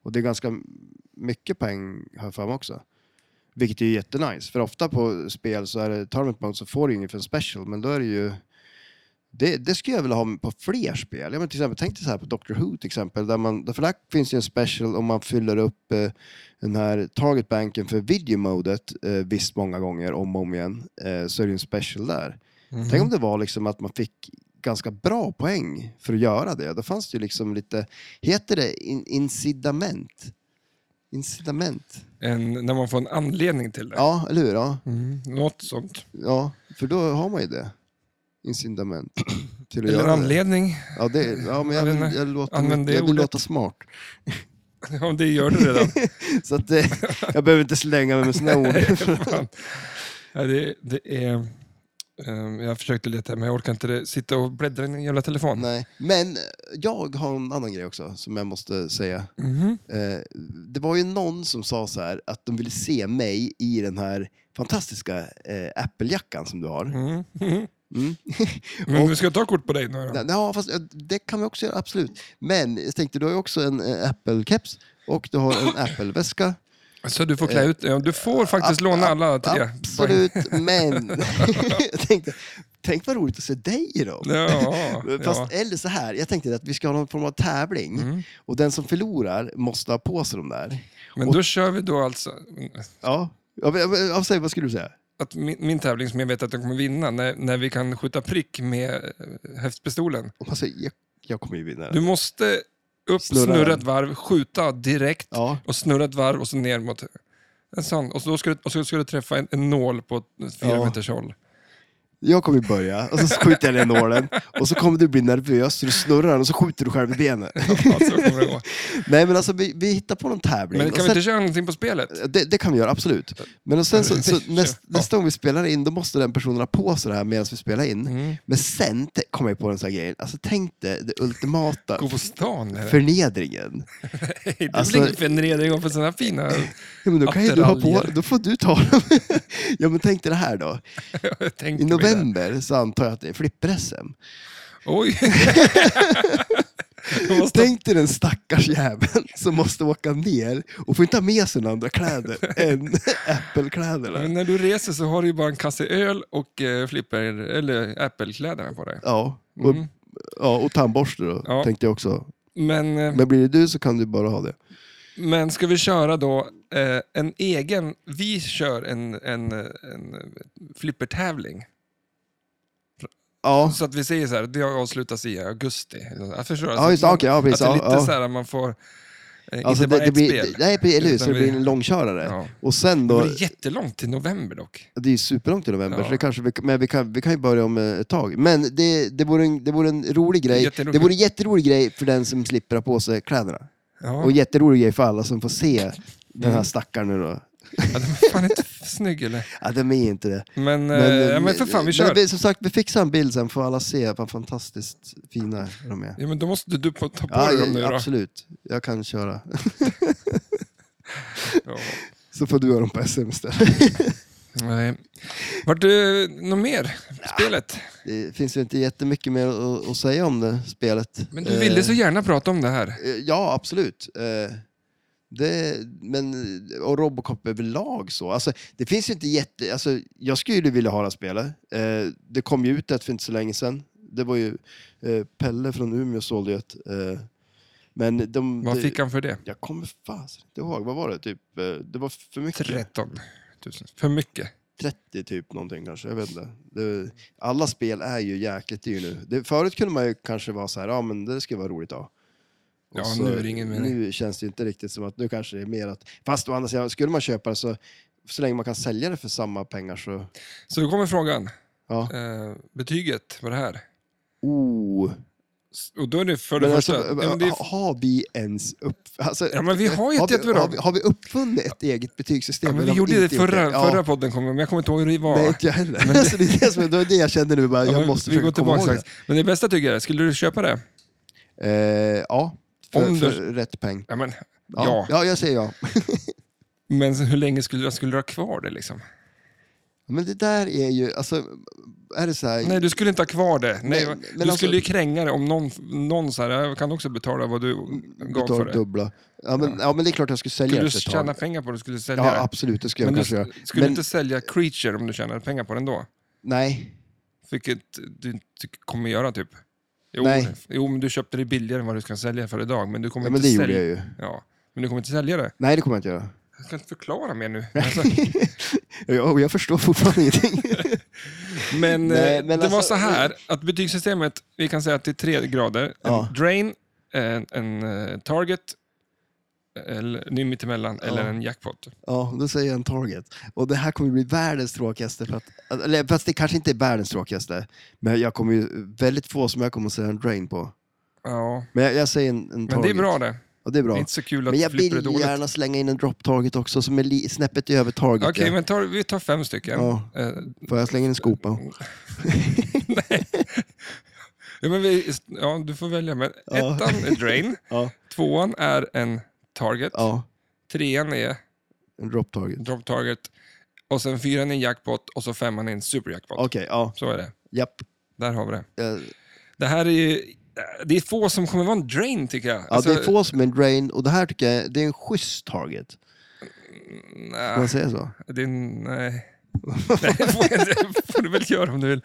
S2: Och det är ganska mycket poäng har jag för mig också. Vilket är ju jättenice, för ofta på spel så är det tournament mode så får du ju inget för en special, men då är det ju det, det skulle jag vilja ha på fler spel. Ja, men till exempel, tänk dig så här på Doctor Who till exempel. Där man, där- för där finns ju en special om man fyller upp eh, den här targetbanken för videomodet eh, visst många gånger om och om igen. Eh, så är det ju en special där.
S1: Mhm.
S2: Tänk om det var liksom att man fick ganska bra poäng för att göra det. Då fanns det ju liksom lite, heter det in, incitament? Incitament?
S1: En, när man får en anledning till det.
S2: Ja, eller hur? Ja.
S1: Mm, något sånt.
S2: ja, för då har man ju det. Incitament. Till att
S1: Eller
S2: göra det.
S1: anledning.
S2: Ja, det, ja men jag,
S1: Jag vet
S2: vill,
S1: inte.
S2: jag, låter,
S1: Använd det
S2: jag vill
S1: ordet.
S2: låta smart.
S1: Ja, det gör du redan.
S2: Så att, eh, jag behöver inte slänga mig med såna ord.
S1: Fan. Ja, det, det är... ehm, Jag försökte leta, men jag orkar inte det. sitta och bläddra i en jävla telefon.
S2: Nej. Men eh, jag har en annan grej också som jag måste säga.
S1: Mhm.
S2: Eh, det var ju någon som sa så här att de ville se mig i den här fantastiska eh, Apple-jackan som du har.
S1: Mm.
S2: Mm.
S1: Men vi ska ta kort på dig nu då.
S2: Nej, Ja, fast eh, det kan vi också göra, absolut. Men jag tänkte, du har ju också en eh, Apple-keps och du har en Apple-väska.
S1: Så du får klä
S2: Eh,
S1: ut ja, Du får faktiskt låna alla tre.
S2: Absolut, men jag tänkte, tänk vad roligt att se dig i dem.
S1: Ja,
S2: Fast,
S1: ja. Mm.
S2: Eller så här, jag tänkte att vi ska ha någon form av tävling och den som förlorar måste ha på sig de där.
S1: Men då kör vi då alltså...
S2: Ja, ja, men- ja, men- ja, säg, vad skulle du säga?
S1: Att min, min tävling som jag vet att jag kommer vinna, när, när vi kan skjuta prick med eh, häftpistolen.
S2: Om man säger, jag, jag kommer ju vinna.
S1: Du måste upp, snurra,
S2: Snurra.
S1: ett varv, skjuta direkt
S2: Ja.
S1: och snurra ett varv och så ner mot en sån. Och så då ska du, och så ska du träffa en, en nål på ett fyra
S2: Ja.
S1: meters håll.
S2: Jag kommer börja, och så skjuter jag den nålen. Och så kommer du bli nervös, så du snurrar den och så skjuter du själv i benet.
S1: Ja, så kommer det gå.
S2: Nej men alltså vi, vi hittar på någon tävling.
S1: Men
S2: Och
S1: kan vi
S2: sen-
S1: inte köra någonting på spelet?
S2: det, det kan vi göra, absolut. Men och sen så, så
S1: Kör.
S2: näst,
S1: Ja.
S2: nästa gång vi spelar in, då måste den personen ha på sig det här medan vi spelar in.
S1: Mm.
S2: Men sen te- kom jag på en sån här grej, alltså tänk dig det ultimata
S1: Gå på stan? eller?
S2: förnedringen.
S1: Det blir
S2: alltså-
S1: ingen förnedring för sådana fina...
S2: Ja, men då, kan ju du ha på,
S1: Attiraljer.
S2: då får du ta dem. ja men tänk dig det här då.
S1: Jag tänker mig det.
S2: I november så antar jag att det är flipper-SM.
S1: Oj! Jag måste-
S2: Tänk dig den stackars jäveln som måste åka ner och får inte ha med sig några andra kläder än
S1: Men
S2: Apple-kläderna.
S1: när du reser så har du ju bara en kasse öl och eh, flipper, eller äppelkläderna på dig.
S2: Ja, och, ja, och tandborste då,
S1: Mm. Ja.
S2: tänkte jag också.
S1: Men, eh,
S2: Men blir det du så kan du bara ha det.
S1: men ska vi köra då eh, en egen... Vi kör en, en, en flippertävling.
S2: Ja,
S1: Så att vi säger så här, det avslutas i augusti. alltså Att förstå,
S2: Ja, just det.
S1: man-
S2: Okej, ja,
S1: Att
S2: precis.
S1: det är
S2: Ja,
S1: lite
S2: ja.
S1: så här, att man får... Eh,
S2: alltså
S1: inte bara
S2: det, det
S1: ett
S2: blir,
S1: spel.
S2: nej, precis, eller hur? Så det
S1: Utan
S2: blir
S1: vi-
S2: en långkörare.
S1: Ja.
S2: Och sen då,
S1: Men det är jättelångt till november dock.
S2: det är ju superlångt i november,
S1: Ja.
S2: så det kanske vi, men vi kan, vi kan ju börja om eh, ett tag. Men det, det, vore, en, det vore en rolig grej.
S1: Jätterolig.
S2: Det vore en jätterolig grej för den som slipper ha på sig kläderna.
S1: Ja.
S2: Och en jätterolig grej för alla som får se den här stackaren nu då.
S1: Ja, den är fan inte snygg eller?
S2: Ja, de är inte det.
S1: Men, men, Eh, ja, men för fan, vi
S2: eh, men
S1: kör.
S2: vi- som sagt, vi fixar en bild sen får alla se vad fantastiskt fina de är.
S1: Ja, men då måste du på- ta på
S2: Ja,
S1: dig dem nu
S2: ja,
S1: då.
S2: absolut. Jag kan köra.
S1: Ja.
S2: Så får du göra dem på SM istället.
S1: Nej. Vart det något mer? Spelet?
S2: Det finns ju inte jättemycket mer att, att säga om det spelet.
S1: Men du ville så gärna prata om det här.
S2: Eh, Ja, absolut. Eh, Det, men, och Robocop överlag så. Alltså, det finns ju inte jätte... Alltså, jag skulle vilja ha det här spelet. Eh, Det kom ju ut ett för inte så länge sedan. Det var ju eh, Pelle från Umeå sålde ju ett. eh, Men de...
S1: Vad
S2: det-
S1: fick han för det?
S2: Jag kommer fasen inte ihåg. Vad var det? Typ, eh, det var för mycket.
S1: 13 000. För mycket.
S2: 30 typ någonting kanske, jag vet inte. Det, alla spel är ju jäkligt dyra nu. Det, förut kunde man ju kanske vara så här, ja men det ska vara roligt ja. Och
S1: Ja,
S2: Alltså,
S1: nu är det ingen mening.
S2: Nu känns det ju inte riktigt som att, nu kanske det är mer att, fast å andra sidan, skulle man köpa det så, så länge man kan sälja det för samma pengar så,
S1: Så då kommer frågan.
S2: ja.
S1: Eh, betyget på det här.
S2: Oh.
S1: S- Och då är det för det
S2: Men
S1: första...
S2: alltså,
S1: ja, men det är,
S2: ha- har vi ens upp... Alltså,
S1: Ja, men vi har ju
S2: har,
S1: ett
S2: vi,
S1: jättebra-
S2: har, vi, har vi uppfunnit ett eget betygssystem?
S1: ja, men
S2: eller
S1: vi
S2: har
S1: gjorde det
S2: inte gjort
S1: förra,
S2: Ja.
S1: förra podden, kommer jag- men jag kommer inte ihåg hur det var.
S2: Nej, inte jag heller. Men det... Alltså, det, är det, som, det var det jag kände nu, bara,
S1: Ja,
S2: jag
S1: men
S2: måste
S1: vi går
S2: försöka komma ihåg
S1: tillbaka
S2: det.
S1: strax. Men det bästa tycker jag är, skulle du köpa det?
S2: Eh, ja, för,
S1: Om du-
S2: för rätt peng.
S1: Ja, men, ja.
S2: Ja, ja. jag säger ja.
S1: Men hur länge skulle du, skulle du ha kvar det liksom?
S2: Men det där är ju, alltså, är det så här...
S1: Nej, du skulle inte ha kvar det. Nej,
S2: men
S1: du
S2: alltså-
S1: skulle ju kränga det om någon, någon så här, jag kan också betala vad du gav
S2: betalar
S1: för det.
S2: dubbla. Ja men, ja. men det är klart jag skulle sälja
S1: Skulle du
S2: efter ett tag.
S1: tjäna pengar på det, skulle du sälja
S2: Ja,
S1: det.
S2: absolut, det skulle
S1: Men
S2: jag
S1: du
S2: kanske göra.
S1: skulle du
S2: Men,
S1: inte sälja Creature om du tjänade pengar på den då?
S2: nej.
S1: Vilket du inte kommer göra typ. Jo,
S2: Nej.
S1: jo, men du köpte det billigare än vad du ska sälja för idag, men du kommer
S2: Ja,
S1: inte
S2: men det gjorde
S1: sälja
S2: jag ju.
S1: Ja, men du kommer inte sälja det.
S2: Nej, det kommer jag inte göra.
S1: Jag kan inte förklara mer nu. Alltså,
S2: Jag, och jag förstår fortfarande ingenting.
S1: Men,
S2: Nej,
S1: eh,
S2: men
S1: det var
S2: alltså-
S1: så här, att betygssystemet, vi kan säga att det är tre grader.
S2: Ja.
S1: En drain, en, en eh, target, eller, det är mittemellan, eller en jackpot.
S2: ja, då säger jag en target. Och det här kommer bli världens tråkigaste. För att, eller fast det kanske inte är världens tråkigaste. Men jag kommer ju, väldigt få som jag kommer att säga en drain på.
S1: Ja.
S2: Men jag, jag säger en, en target.
S1: Men det är bra det.
S2: Ja, det är bra.
S1: Det är inte så kul att
S2: Men jag
S1: flipper är
S2: vill
S1: dåligt.
S2: gärna slänga in en drop target också som är li- snäppet över target.
S1: Okej,
S2: ja.
S1: men tar, vi tar fem stycken.
S2: Ja.
S1: Eh,
S2: Får jag slänga in en skopa?
S1: ja, men vi, ja, du får välja. Men Ettan är drain,
S2: Ja.
S1: tvåan är en target,
S2: Ja,
S1: trean är
S2: en drop target.
S1: drop target, och sen fyran är en jackpot och så femman är en superjackpot.
S2: Okej, ja.
S1: Så är det.
S2: Japp.
S1: Där har vi det.
S2: Eh,
S1: Det här är ju, det är få som kommer vara en drain tycker jag. Alltså,
S2: Ja, det är få som är en drain och det här tycker jag det är en schysst target.
S1: Mm,
S2: Får man säga så?
S1: det är- nej. nej, det får, jag inte. Det får du väl göra om du vill.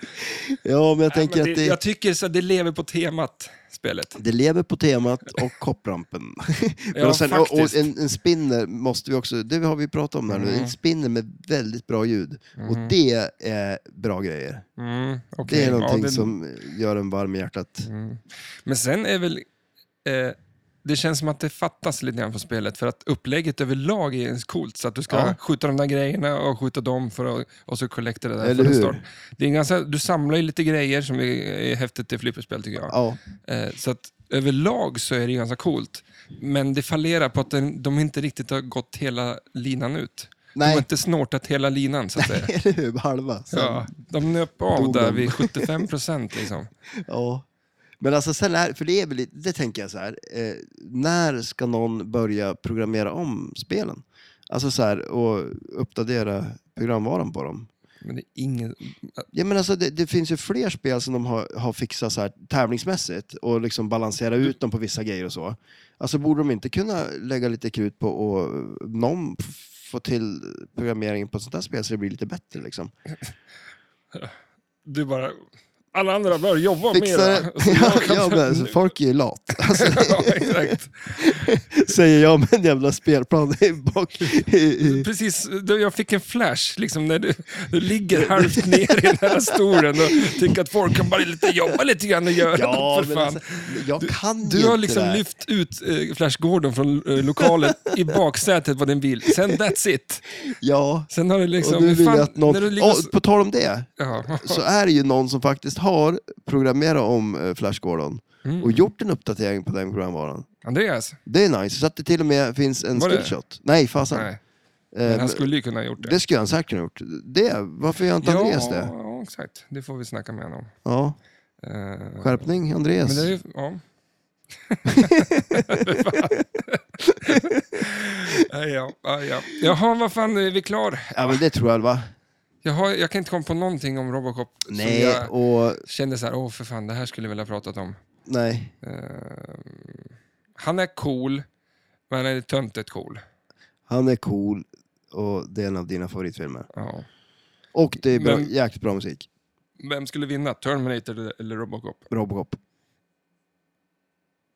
S2: Ja, men jag tänker
S1: Men det,
S2: att det,
S1: Jag tycker så att det lever på temat, spelet.
S2: det lever på temat och kopprampen. Men och, sen, och, och
S1: faktiskt. Mm.
S2: en, en spinner måste vi också, det har vi pratat om här nu, en spinner med väldigt bra ljud. Och det är bra grejer.
S1: Mm, okej. Mm.
S2: Det är någonting
S1: Ja, det-
S2: som gör en varm i hjärtat.
S1: Men sen är väl eh, det känns som att det fattas lite grann från spelet för att upplägget överlag är ens coolt. Så att du ska
S2: Ja.
S1: skjuta de där grejerna och skjuta dem för att, och så collecta det där.
S2: Eller
S1: för det
S2: hur?
S1: står- Det är en ganska, du samlar ju lite grejer som är, är häftigt i flipperspel tycker jag.
S2: Ja.
S1: Eh, Så att överlag så är det ganska coolt. Men det fallerar på att den, de inte riktigt har gått hela linan ut. De
S2: Nej.
S1: har inte snortat hela linan så att säga.
S2: Eller hur? Halva. Sen,
S1: Ja,
S2: ja.
S1: de nöp av
S2: dog
S1: där
S2: de.
S1: vid 75 procent. Liksom.
S2: Men alltså sen är, för det är väl lite, det tänker jag så här. Eh, när ska någon börja programmera om spelen? Alltså så här, och uppdatera programvaran på dem.
S1: Men det är ingen...
S2: Ja, men alltså, det, det finns ju fler spel som de har, har fixat så här, tävlingsmässigt och liksom balansera ut dem på vissa grejer och så. Alltså borde de inte kunna lägga lite krut på och någon f- få till programmeringen på ett sånt här spel så det blir lite bättre liksom.
S1: Du bara... Alla andra bör jobba
S2: Fixa
S1: mer.
S2: det. Ja, ja, men, alltså, folk är ju lat. Alltså,
S1: ja, exakt.
S2: säger jag med en jävla spelplan i bak. I, i.
S1: Precis, då jag fick en flash liksom, när du, du ligger halvt ner i den här stolen och tycker att folk kan bara lite, jobba lite grann och göra något för fan.
S2: alltså, jag kan ju
S1: Du har
S2: inte
S1: liksom
S2: det här.
S1: lyft ut eh, Flash Gordon från eh, lokalen i baksätet på din bil. Sen that's it.
S2: Ja,
S1: Sen har du liksom...
S2: och nu
S1: hur
S2: vill
S1: fan-
S2: jag att någon...
S1: när du ligger och s-
S2: Åh, på tal om det,
S1: ja.
S2: så är det ju någon som faktiskt har programmerat om eh, Flash Gordon
S1: Mm.
S2: och gjort en uppdatering på den programvaran.
S1: Andreas?
S2: Det är nice, så att det till och med finns en
S1: Var det?
S2: skillshot. Nej, fasen.
S1: Nej,
S2: Eh,
S1: men han skulle ju kunna ha gjort det.
S2: Det skulle han säkert ha gjort. Det, varför gör inte Andreas
S1: ja,
S2: det?
S1: Ja, exakt. Det får vi snacka med honom om.
S2: Ja,
S1: Eh,
S2: skärpning Andreas.
S1: Men det är ju, ja. Nej, ja, ja, ja. Jaha, vad fan, är vi klar?
S2: Ja, men det tror jag va?
S1: Jaha, jag kan inte komma på någonting om Robocop
S2: Nej,
S1: som jag
S2: och
S1: kände så här, åh för fan, det här skulle jag vilja pratat om.
S2: nej.
S1: Han är cool, men han är töntigt cool.
S2: Han är cool och det är en av dina favoritfilmer.
S1: Ja.
S2: Och det är bra,
S1: Men-
S2: jäkligt bra musik.
S1: Vem skulle vinna, Terminator eller Robocop?
S2: Robocop.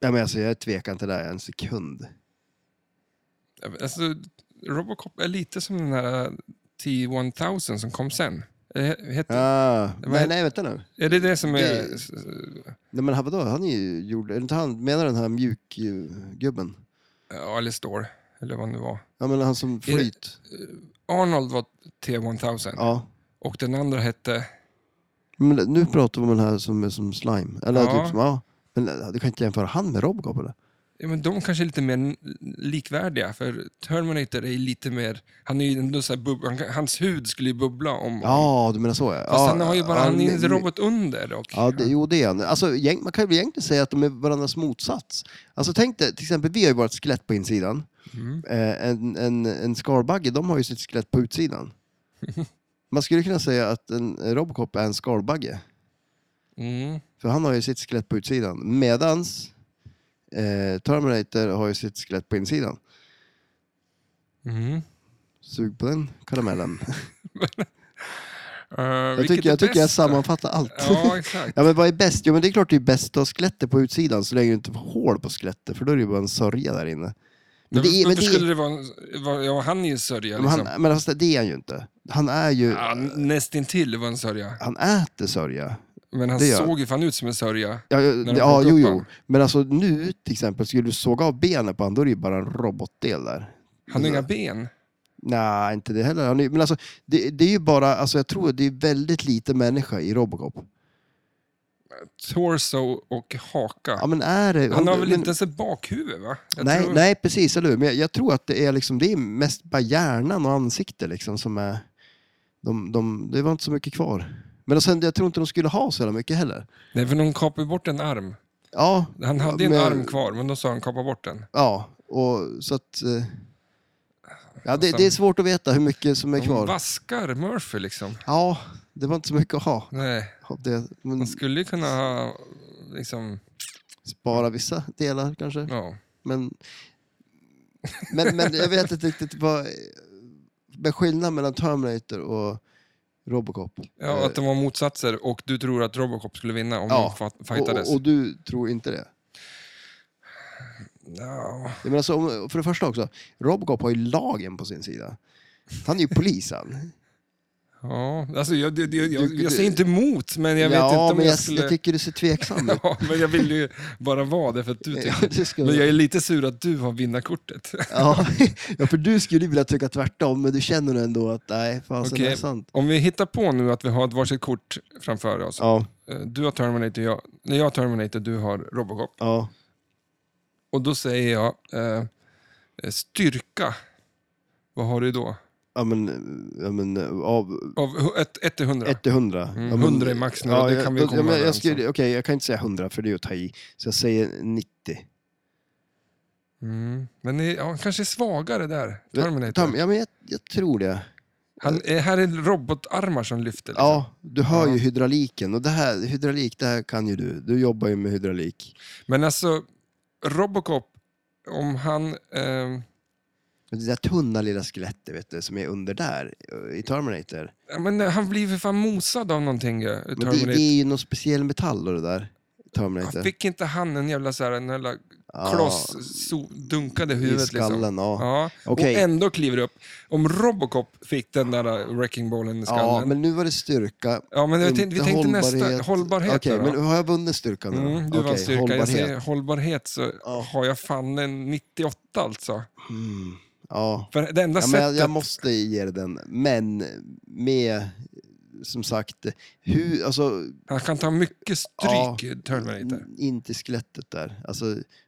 S2: Ja, men alltså, jag tvekar inte där en sekund.
S1: Alltså, Robocop är lite som den här T-1000 som kom sen. Eh, Heter,
S2: Ah,
S1: Men-
S2: nej, nej, vänta nu.
S1: Är det det som är...
S2: Det- Nej, men han- vadå? Han är ju gjord... Är inte han, menar den här mjukgubben?
S1: Ja, eller står, eller vad det nu var.
S2: Ja, men han som flyt.
S1: Arnold var T-1000
S2: Ja.
S1: och den andra hette...
S2: Men nu pratar vi om den här som är som slime. Eller
S1: Ja.
S2: typ som, ja. Men du kan inte jämföra han med Robocop eller?
S1: Ja, men de kanske är lite mer n- likvärdiga, för Terminator är ju lite mer... Han är ju ändå så här bub- han, kan- hans hud skulle ju bubbla om...
S2: Ja, du menar så ja.
S1: Fast
S2: ja,
S1: han har ju bara...
S2: ja,
S1: han är ju
S2: men-
S1: en robot under dock.
S2: Ja, det, jo det är han. Alltså, gäng- man kan ju egentligen säga att de är varandras motsats. Alltså tänk dig, till exempel vi har ju vårt skelett på insidan.
S1: Mm.
S2: Eh, en, en, en skalbagge, de har ju sitt skelett på utsidan. Man skulle kunna säga att en en Robocop är en skalbagge.
S1: Mm.
S2: För han har ju sitt skelett på utsidan. Medans eh, Terminator har ju sitt skelett på insidan.
S1: Mm.
S2: Sug på den karamellen.
S1: Eh,
S2: jag
S1: vilket
S2: tycker,
S1: är
S2: jag, tycker jag
S1: bäst då?
S2: sammanfattar allt.
S1: Ja, exakt.
S2: Ja men vad är bäst? Jo men det är klart det är bäst att ha skelettet på utsidan så länge du inte får hål på skelettet för då är det ju bara en sörja där inne. Men det är, men
S1: Varför
S2: det är,
S1: skulle det vara... en- var- Ja, han är ju en sörja
S2: men
S1: liksom.
S2: han, men alltså, det är han ju inte. Han är ju,
S1: Ja, nästintill var en sörja.
S2: han äter sörja.
S1: Men han
S2: det gör-
S1: såg ju fan ut som en sörja.
S2: Ja,
S1: de
S2: ja, ja
S1: plockar
S2: jo
S1: upp
S2: jo.
S1: han.
S2: Men alltså nu till exempel, skulle du såga av benen på honom då är det ju bara en robotdel där.
S1: Han har inga ben.
S2: Nej, inte det heller. Han är, men alltså, det, det är ju bara, alltså jag tror det är väldigt lite människa i Robocop.
S1: Torso och haka.
S2: Ja men är det...
S1: han har väl
S2: men-
S1: inte ens ett bakhuvud va? Jag
S2: Nej,
S1: tror-
S2: nej, precis, eller hur? Men jag, jag tror att det är, liksom, det är mest bara hjärnan och ansiktet liksom som är... De, de, det var inte så mycket kvar. Men och sen, jag tror inte de skulle ha så jävla mycket heller.
S1: Nej, för de kapade bort en arm.
S2: Ja,
S1: Han hade
S2: men-
S1: en arm kvar, men då sa han kapa bort den.
S2: Ja, och så att... eh, Ja, det, det är svårt att veta hur mycket som är
S1: Hon
S2: kvar.
S1: vaskar Murphy liksom.
S2: Ja, det var inte så mycket att ha.
S1: Nej,
S2: Av Det, men
S1: hon skulle ju kunna ha liksom,
S2: spara vissa delar kanske.
S1: ja.
S2: Men, men, men jag vet inte riktigt vad... Men skillnaden mellan Terminator och Robocop.
S1: ja, att de var motsatser och du tror att Robocop skulle vinna om
S2: Eh. Ja,
S1: de fa-
S2: och,
S1: fightades.
S2: och, och du tror inte det?
S1: Ja.
S2: Jag menar så, om- för det första också, Robocop har ju lagen på sin sida. Han är ju polis han.
S1: Ja, alltså jag, det- det- jag,
S2: Du-
S1: jag
S2: du-
S1: säger inte emot, men jag vet
S2: ja,
S1: inte om
S2: men
S1: jag,
S2: jag,
S1: skulle...
S2: jag tycker du ser tveksam ut.
S1: Ja, men jag vill ju bara vara det för att du
S2: Ja,
S1: tycker
S2: det ska
S1: Men
S2: du.
S1: jag är lite sur att du har vinnarkortet.
S2: Ja, alltså, ja, för du skulle ju vilja tycka tvärtom, men du känner ändå att nej, fasen det är
S1: Okej,
S2: sant.
S1: Om vi hittar på nu att vi har ett varsitt kort framför oss.
S2: Ja,
S1: Eh, Du har Terminator, jag, nej, jag har Terminator, du har Robocop.
S2: ja.
S1: Och då säger jag eh, styrka. Vad har du då?
S2: Ja men, ja, men av
S1: Av hu- ett- ett till 100?
S2: 1 till 100.
S1: Mm,
S2: Ja, men-
S1: 100 är max nu, det
S2: jag-
S1: kan vi komma
S2: ja, men jag
S1: överens
S2: skulle, Okej, jag kan inte säga 100 för det är att ta i. Så jag säger 90.
S1: Mm. Men det är- ja, kanske är svagare där,
S2: Tom,
S1: Terminator.
S2: ja, men jag, jag tror det.
S1: Han, eh, här är robotarmar som lyfter. Liksom.
S2: Ja, du hör
S1: Ja.
S2: ju hydrauliken och det här, hydraulik, det här kan ju du. Du jobbar ju med hydraulik.
S1: Men alltså, Robocop, om han... Eh,
S2: Men Det där tunna lilla skelettet vet du, som är under där eh, i Terminator.
S1: ja, men han blir för fan mosad av någonting. eh,
S2: Men det,
S1: Terminator.
S2: det är ju någon speciell metall och det där. Terminator.
S1: Han fick inte han en jävla, så här, en jävla
S2: Ja,
S1: kloss so, dunkade
S2: I
S1: huvudet
S2: skallen,
S1: liksom?
S2: ja.
S1: Ja,
S2: Okej.
S1: och ändå kliver det upp. Om Robocop fick den där eh, wrecking ballen i skallen.
S2: Ja, men nu var det styrka.
S1: Ja, men jag
S2: inte
S1: tänkte- vi tänkte nästa. Hållbarhet
S2: Okej,
S1: då.
S2: men har jag vunnit styrkan nu? då?
S1: Mm, du
S2: Okej,
S1: vann styrka. Jag
S2: hållbarhet.
S1: säger hållbarhet så har jag fan en 98 alltså.
S2: Ja.
S1: För det enda
S2: Ja, men
S1: sättet...
S2: jag, jag måste ge dig den, men med som sagt, hur, alltså,
S1: Han kan ta mycket
S2: Ja. Mm,
S1: stryk, eh, i Terminator.
S2: n- inte skelettet där. Alltså,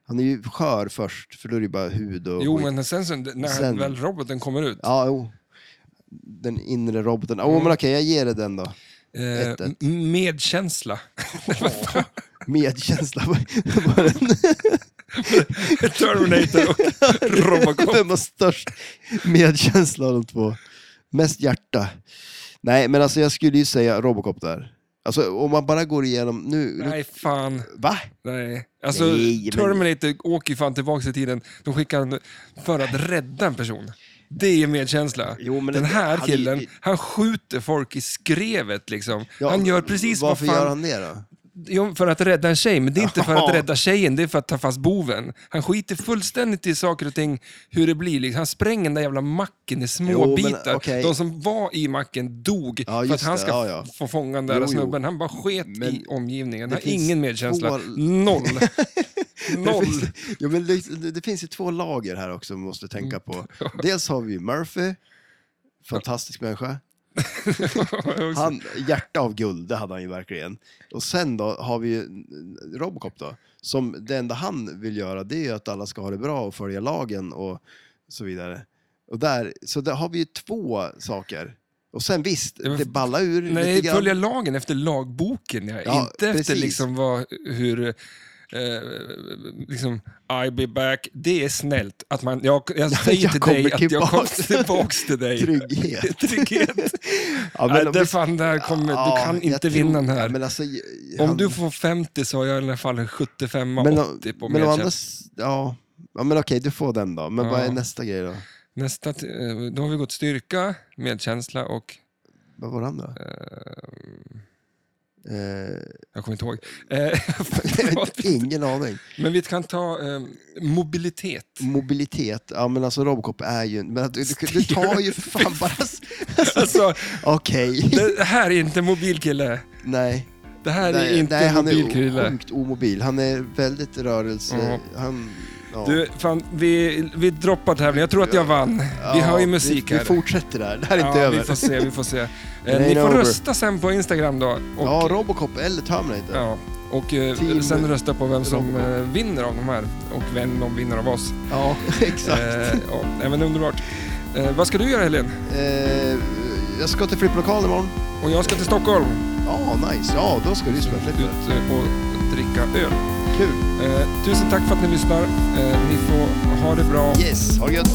S2: han är ju skör först, för då är det ju bara hud och
S1: Jo,
S2: skit.
S1: men sen så, när
S2: Sen-
S1: väl roboten kommer ut.
S2: Ja, jo. Den inre roboten. Åh, men okej, jag ger dig den då.
S1: eh,
S2: ett, ett.
S1: m- medkänsla.
S2: Medkänsla. var- var den-
S1: Terminator och Robocop.
S2: Vem har störst medkänsla av de två? Mest hjärta. Nej, men alltså jag skulle ju säga Robocop där. Alltså om man bara går igenom nu.
S1: Nej, fan.
S2: Va?
S1: Nej. Alltså,
S2: Nej, men-
S1: Terminator åker ju fan tillbaka i tiden. De skickar honom för att rädda en person. Det är medkänsla.
S2: Jo, men
S1: Den
S2: det-
S1: här
S2: han-
S1: killen, han skjuter folk i skrevet liksom.
S2: Ja,
S1: han gör precis vad
S2: Varför
S1: fan...
S2: gör han det då?
S1: Jo, för att rädda en tjej, men det är inte för att
S2: Jaha.
S1: rädda tjejen, det är för att ta fast boven. Han skiter fullständigt i saker och ting, hur det blir. liksom. Han spränger den där jävla macken i små
S2: Jo, men,
S1: bitar.
S2: okej.
S1: De som var i macken dog
S2: Ja,
S1: för att
S2: just
S1: han
S2: det,
S1: ska
S2: ja, ja.
S1: f- få fånga den där
S2: Jo, jo.
S1: snubben. Han bara sket i
S2: Men
S1: omgivningen.
S2: det
S1: Han har
S2: finns
S1: ingen medkänsla.
S2: två-
S1: Noll. Noll.
S2: Det finns, jo, men det, det finns ju två lager här också man måste tänka
S1: Mm.
S2: på. Dels har vi Murphy, fantastisk människa. Han, hjärta av guld, det hade han ju verkligen. Och sen då har vi ju Robocop då, som det enda han vill göra det är ju att alla ska ha det bra och följa lagen och så vidare. Och där, så där har vi ju två saker. Och sen visst,
S1: men-
S2: det ballar ur
S1: Nej,
S2: lite grann.
S1: följa lagen efter lagboken, ja.
S2: Ja,
S1: inte efter
S2: precis.
S1: liksom vad, hur... Eh, liksom, I be back. Det är snällt. Att man, jag, jag säger
S2: jag
S1: till
S2: kommer
S1: dig att jag
S2: tillbaka.
S1: kommer tillbaks till dig.
S2: Trygghet.
S1: Trygghet.
S2: Ja,
S1: Nej,
S2: om
S1: det
S2: vi-
S1: fan, där kommer, du
S2: Ja,
S1: kan
S2: jag
S1: inte
S2: tror-
S1: vinna den här.
S2: Ja, men alltså, j-
S1: om
S2: han-
S1: du får 50 så har jag i alla fall 75
S2: men,
S1: 80 på
S2: men, å
S1: medkänsla.
S2: andra, s- ja. ja, men okej, du får den då. Men vad är
S1: Ja.
S2: nästa grej då?
S1: Nästa, t- eh, då har vi gått styrka, medkänsla och...
S2: Vad var den då?
S1: Ehm.
S2: Eh,
S1: Jag kommer inte ihåg. Eh, förlåt.
S2: ingen aning.
S1: men vi kan ta eh, mobilitet.
S2: Mobilitet, ja men alltså Robocop är ju... Men att du, du, du tar ju för fan bara... s-
S1: Alltså,
S2: Okej,
S1: Det här är inte mobilkille.
S2: nej.
S1: Det här är
S2: nej,
S1: inte
S2: nej, han
S1: mobilkille.
S2: är sjukt omobil. Han är väldigt rörelse...
S1: Ja.
S2: Han, ja.
S1: Du, fan, vi, vi droppar tävlingen. Jag tror att jag vann. vi
S2: Ja,
S1: har ju musik
S2: vi,
S1: här.
S2: Vi fortsätter där, det här är
S1: ja,
S2: inte över.
S1: Vi får se, vi får se. Eh,
S2: ain't
S1: ni får
S2: over.
S1: rösta sen på Instagram då. Och,
S2: Ja, Robocop eller Terminator.
S1: ja, och eh,
S2: Team
S1: sen rösta på vem som
S2: Robocop.
S1: eh, vinner av de här och vem de vinner av oss.
S2: Ja, exakt.
S1: Eh, ja, nej, men underbart. Eh, vad ska du göra Helen?
S2: Eh, jag ska till flipplokalen imorgon.
S1: Och jag ska till Stockholm
S2: Ja, nice. Ja, då ska du spela flipper.
S1: ut eh, och dricka öl.
S2: Kul.
S1: Eh, tusen tack för att ni lyssnar. Eh, ni får ha det bra.
S2: Yes, ha det gött.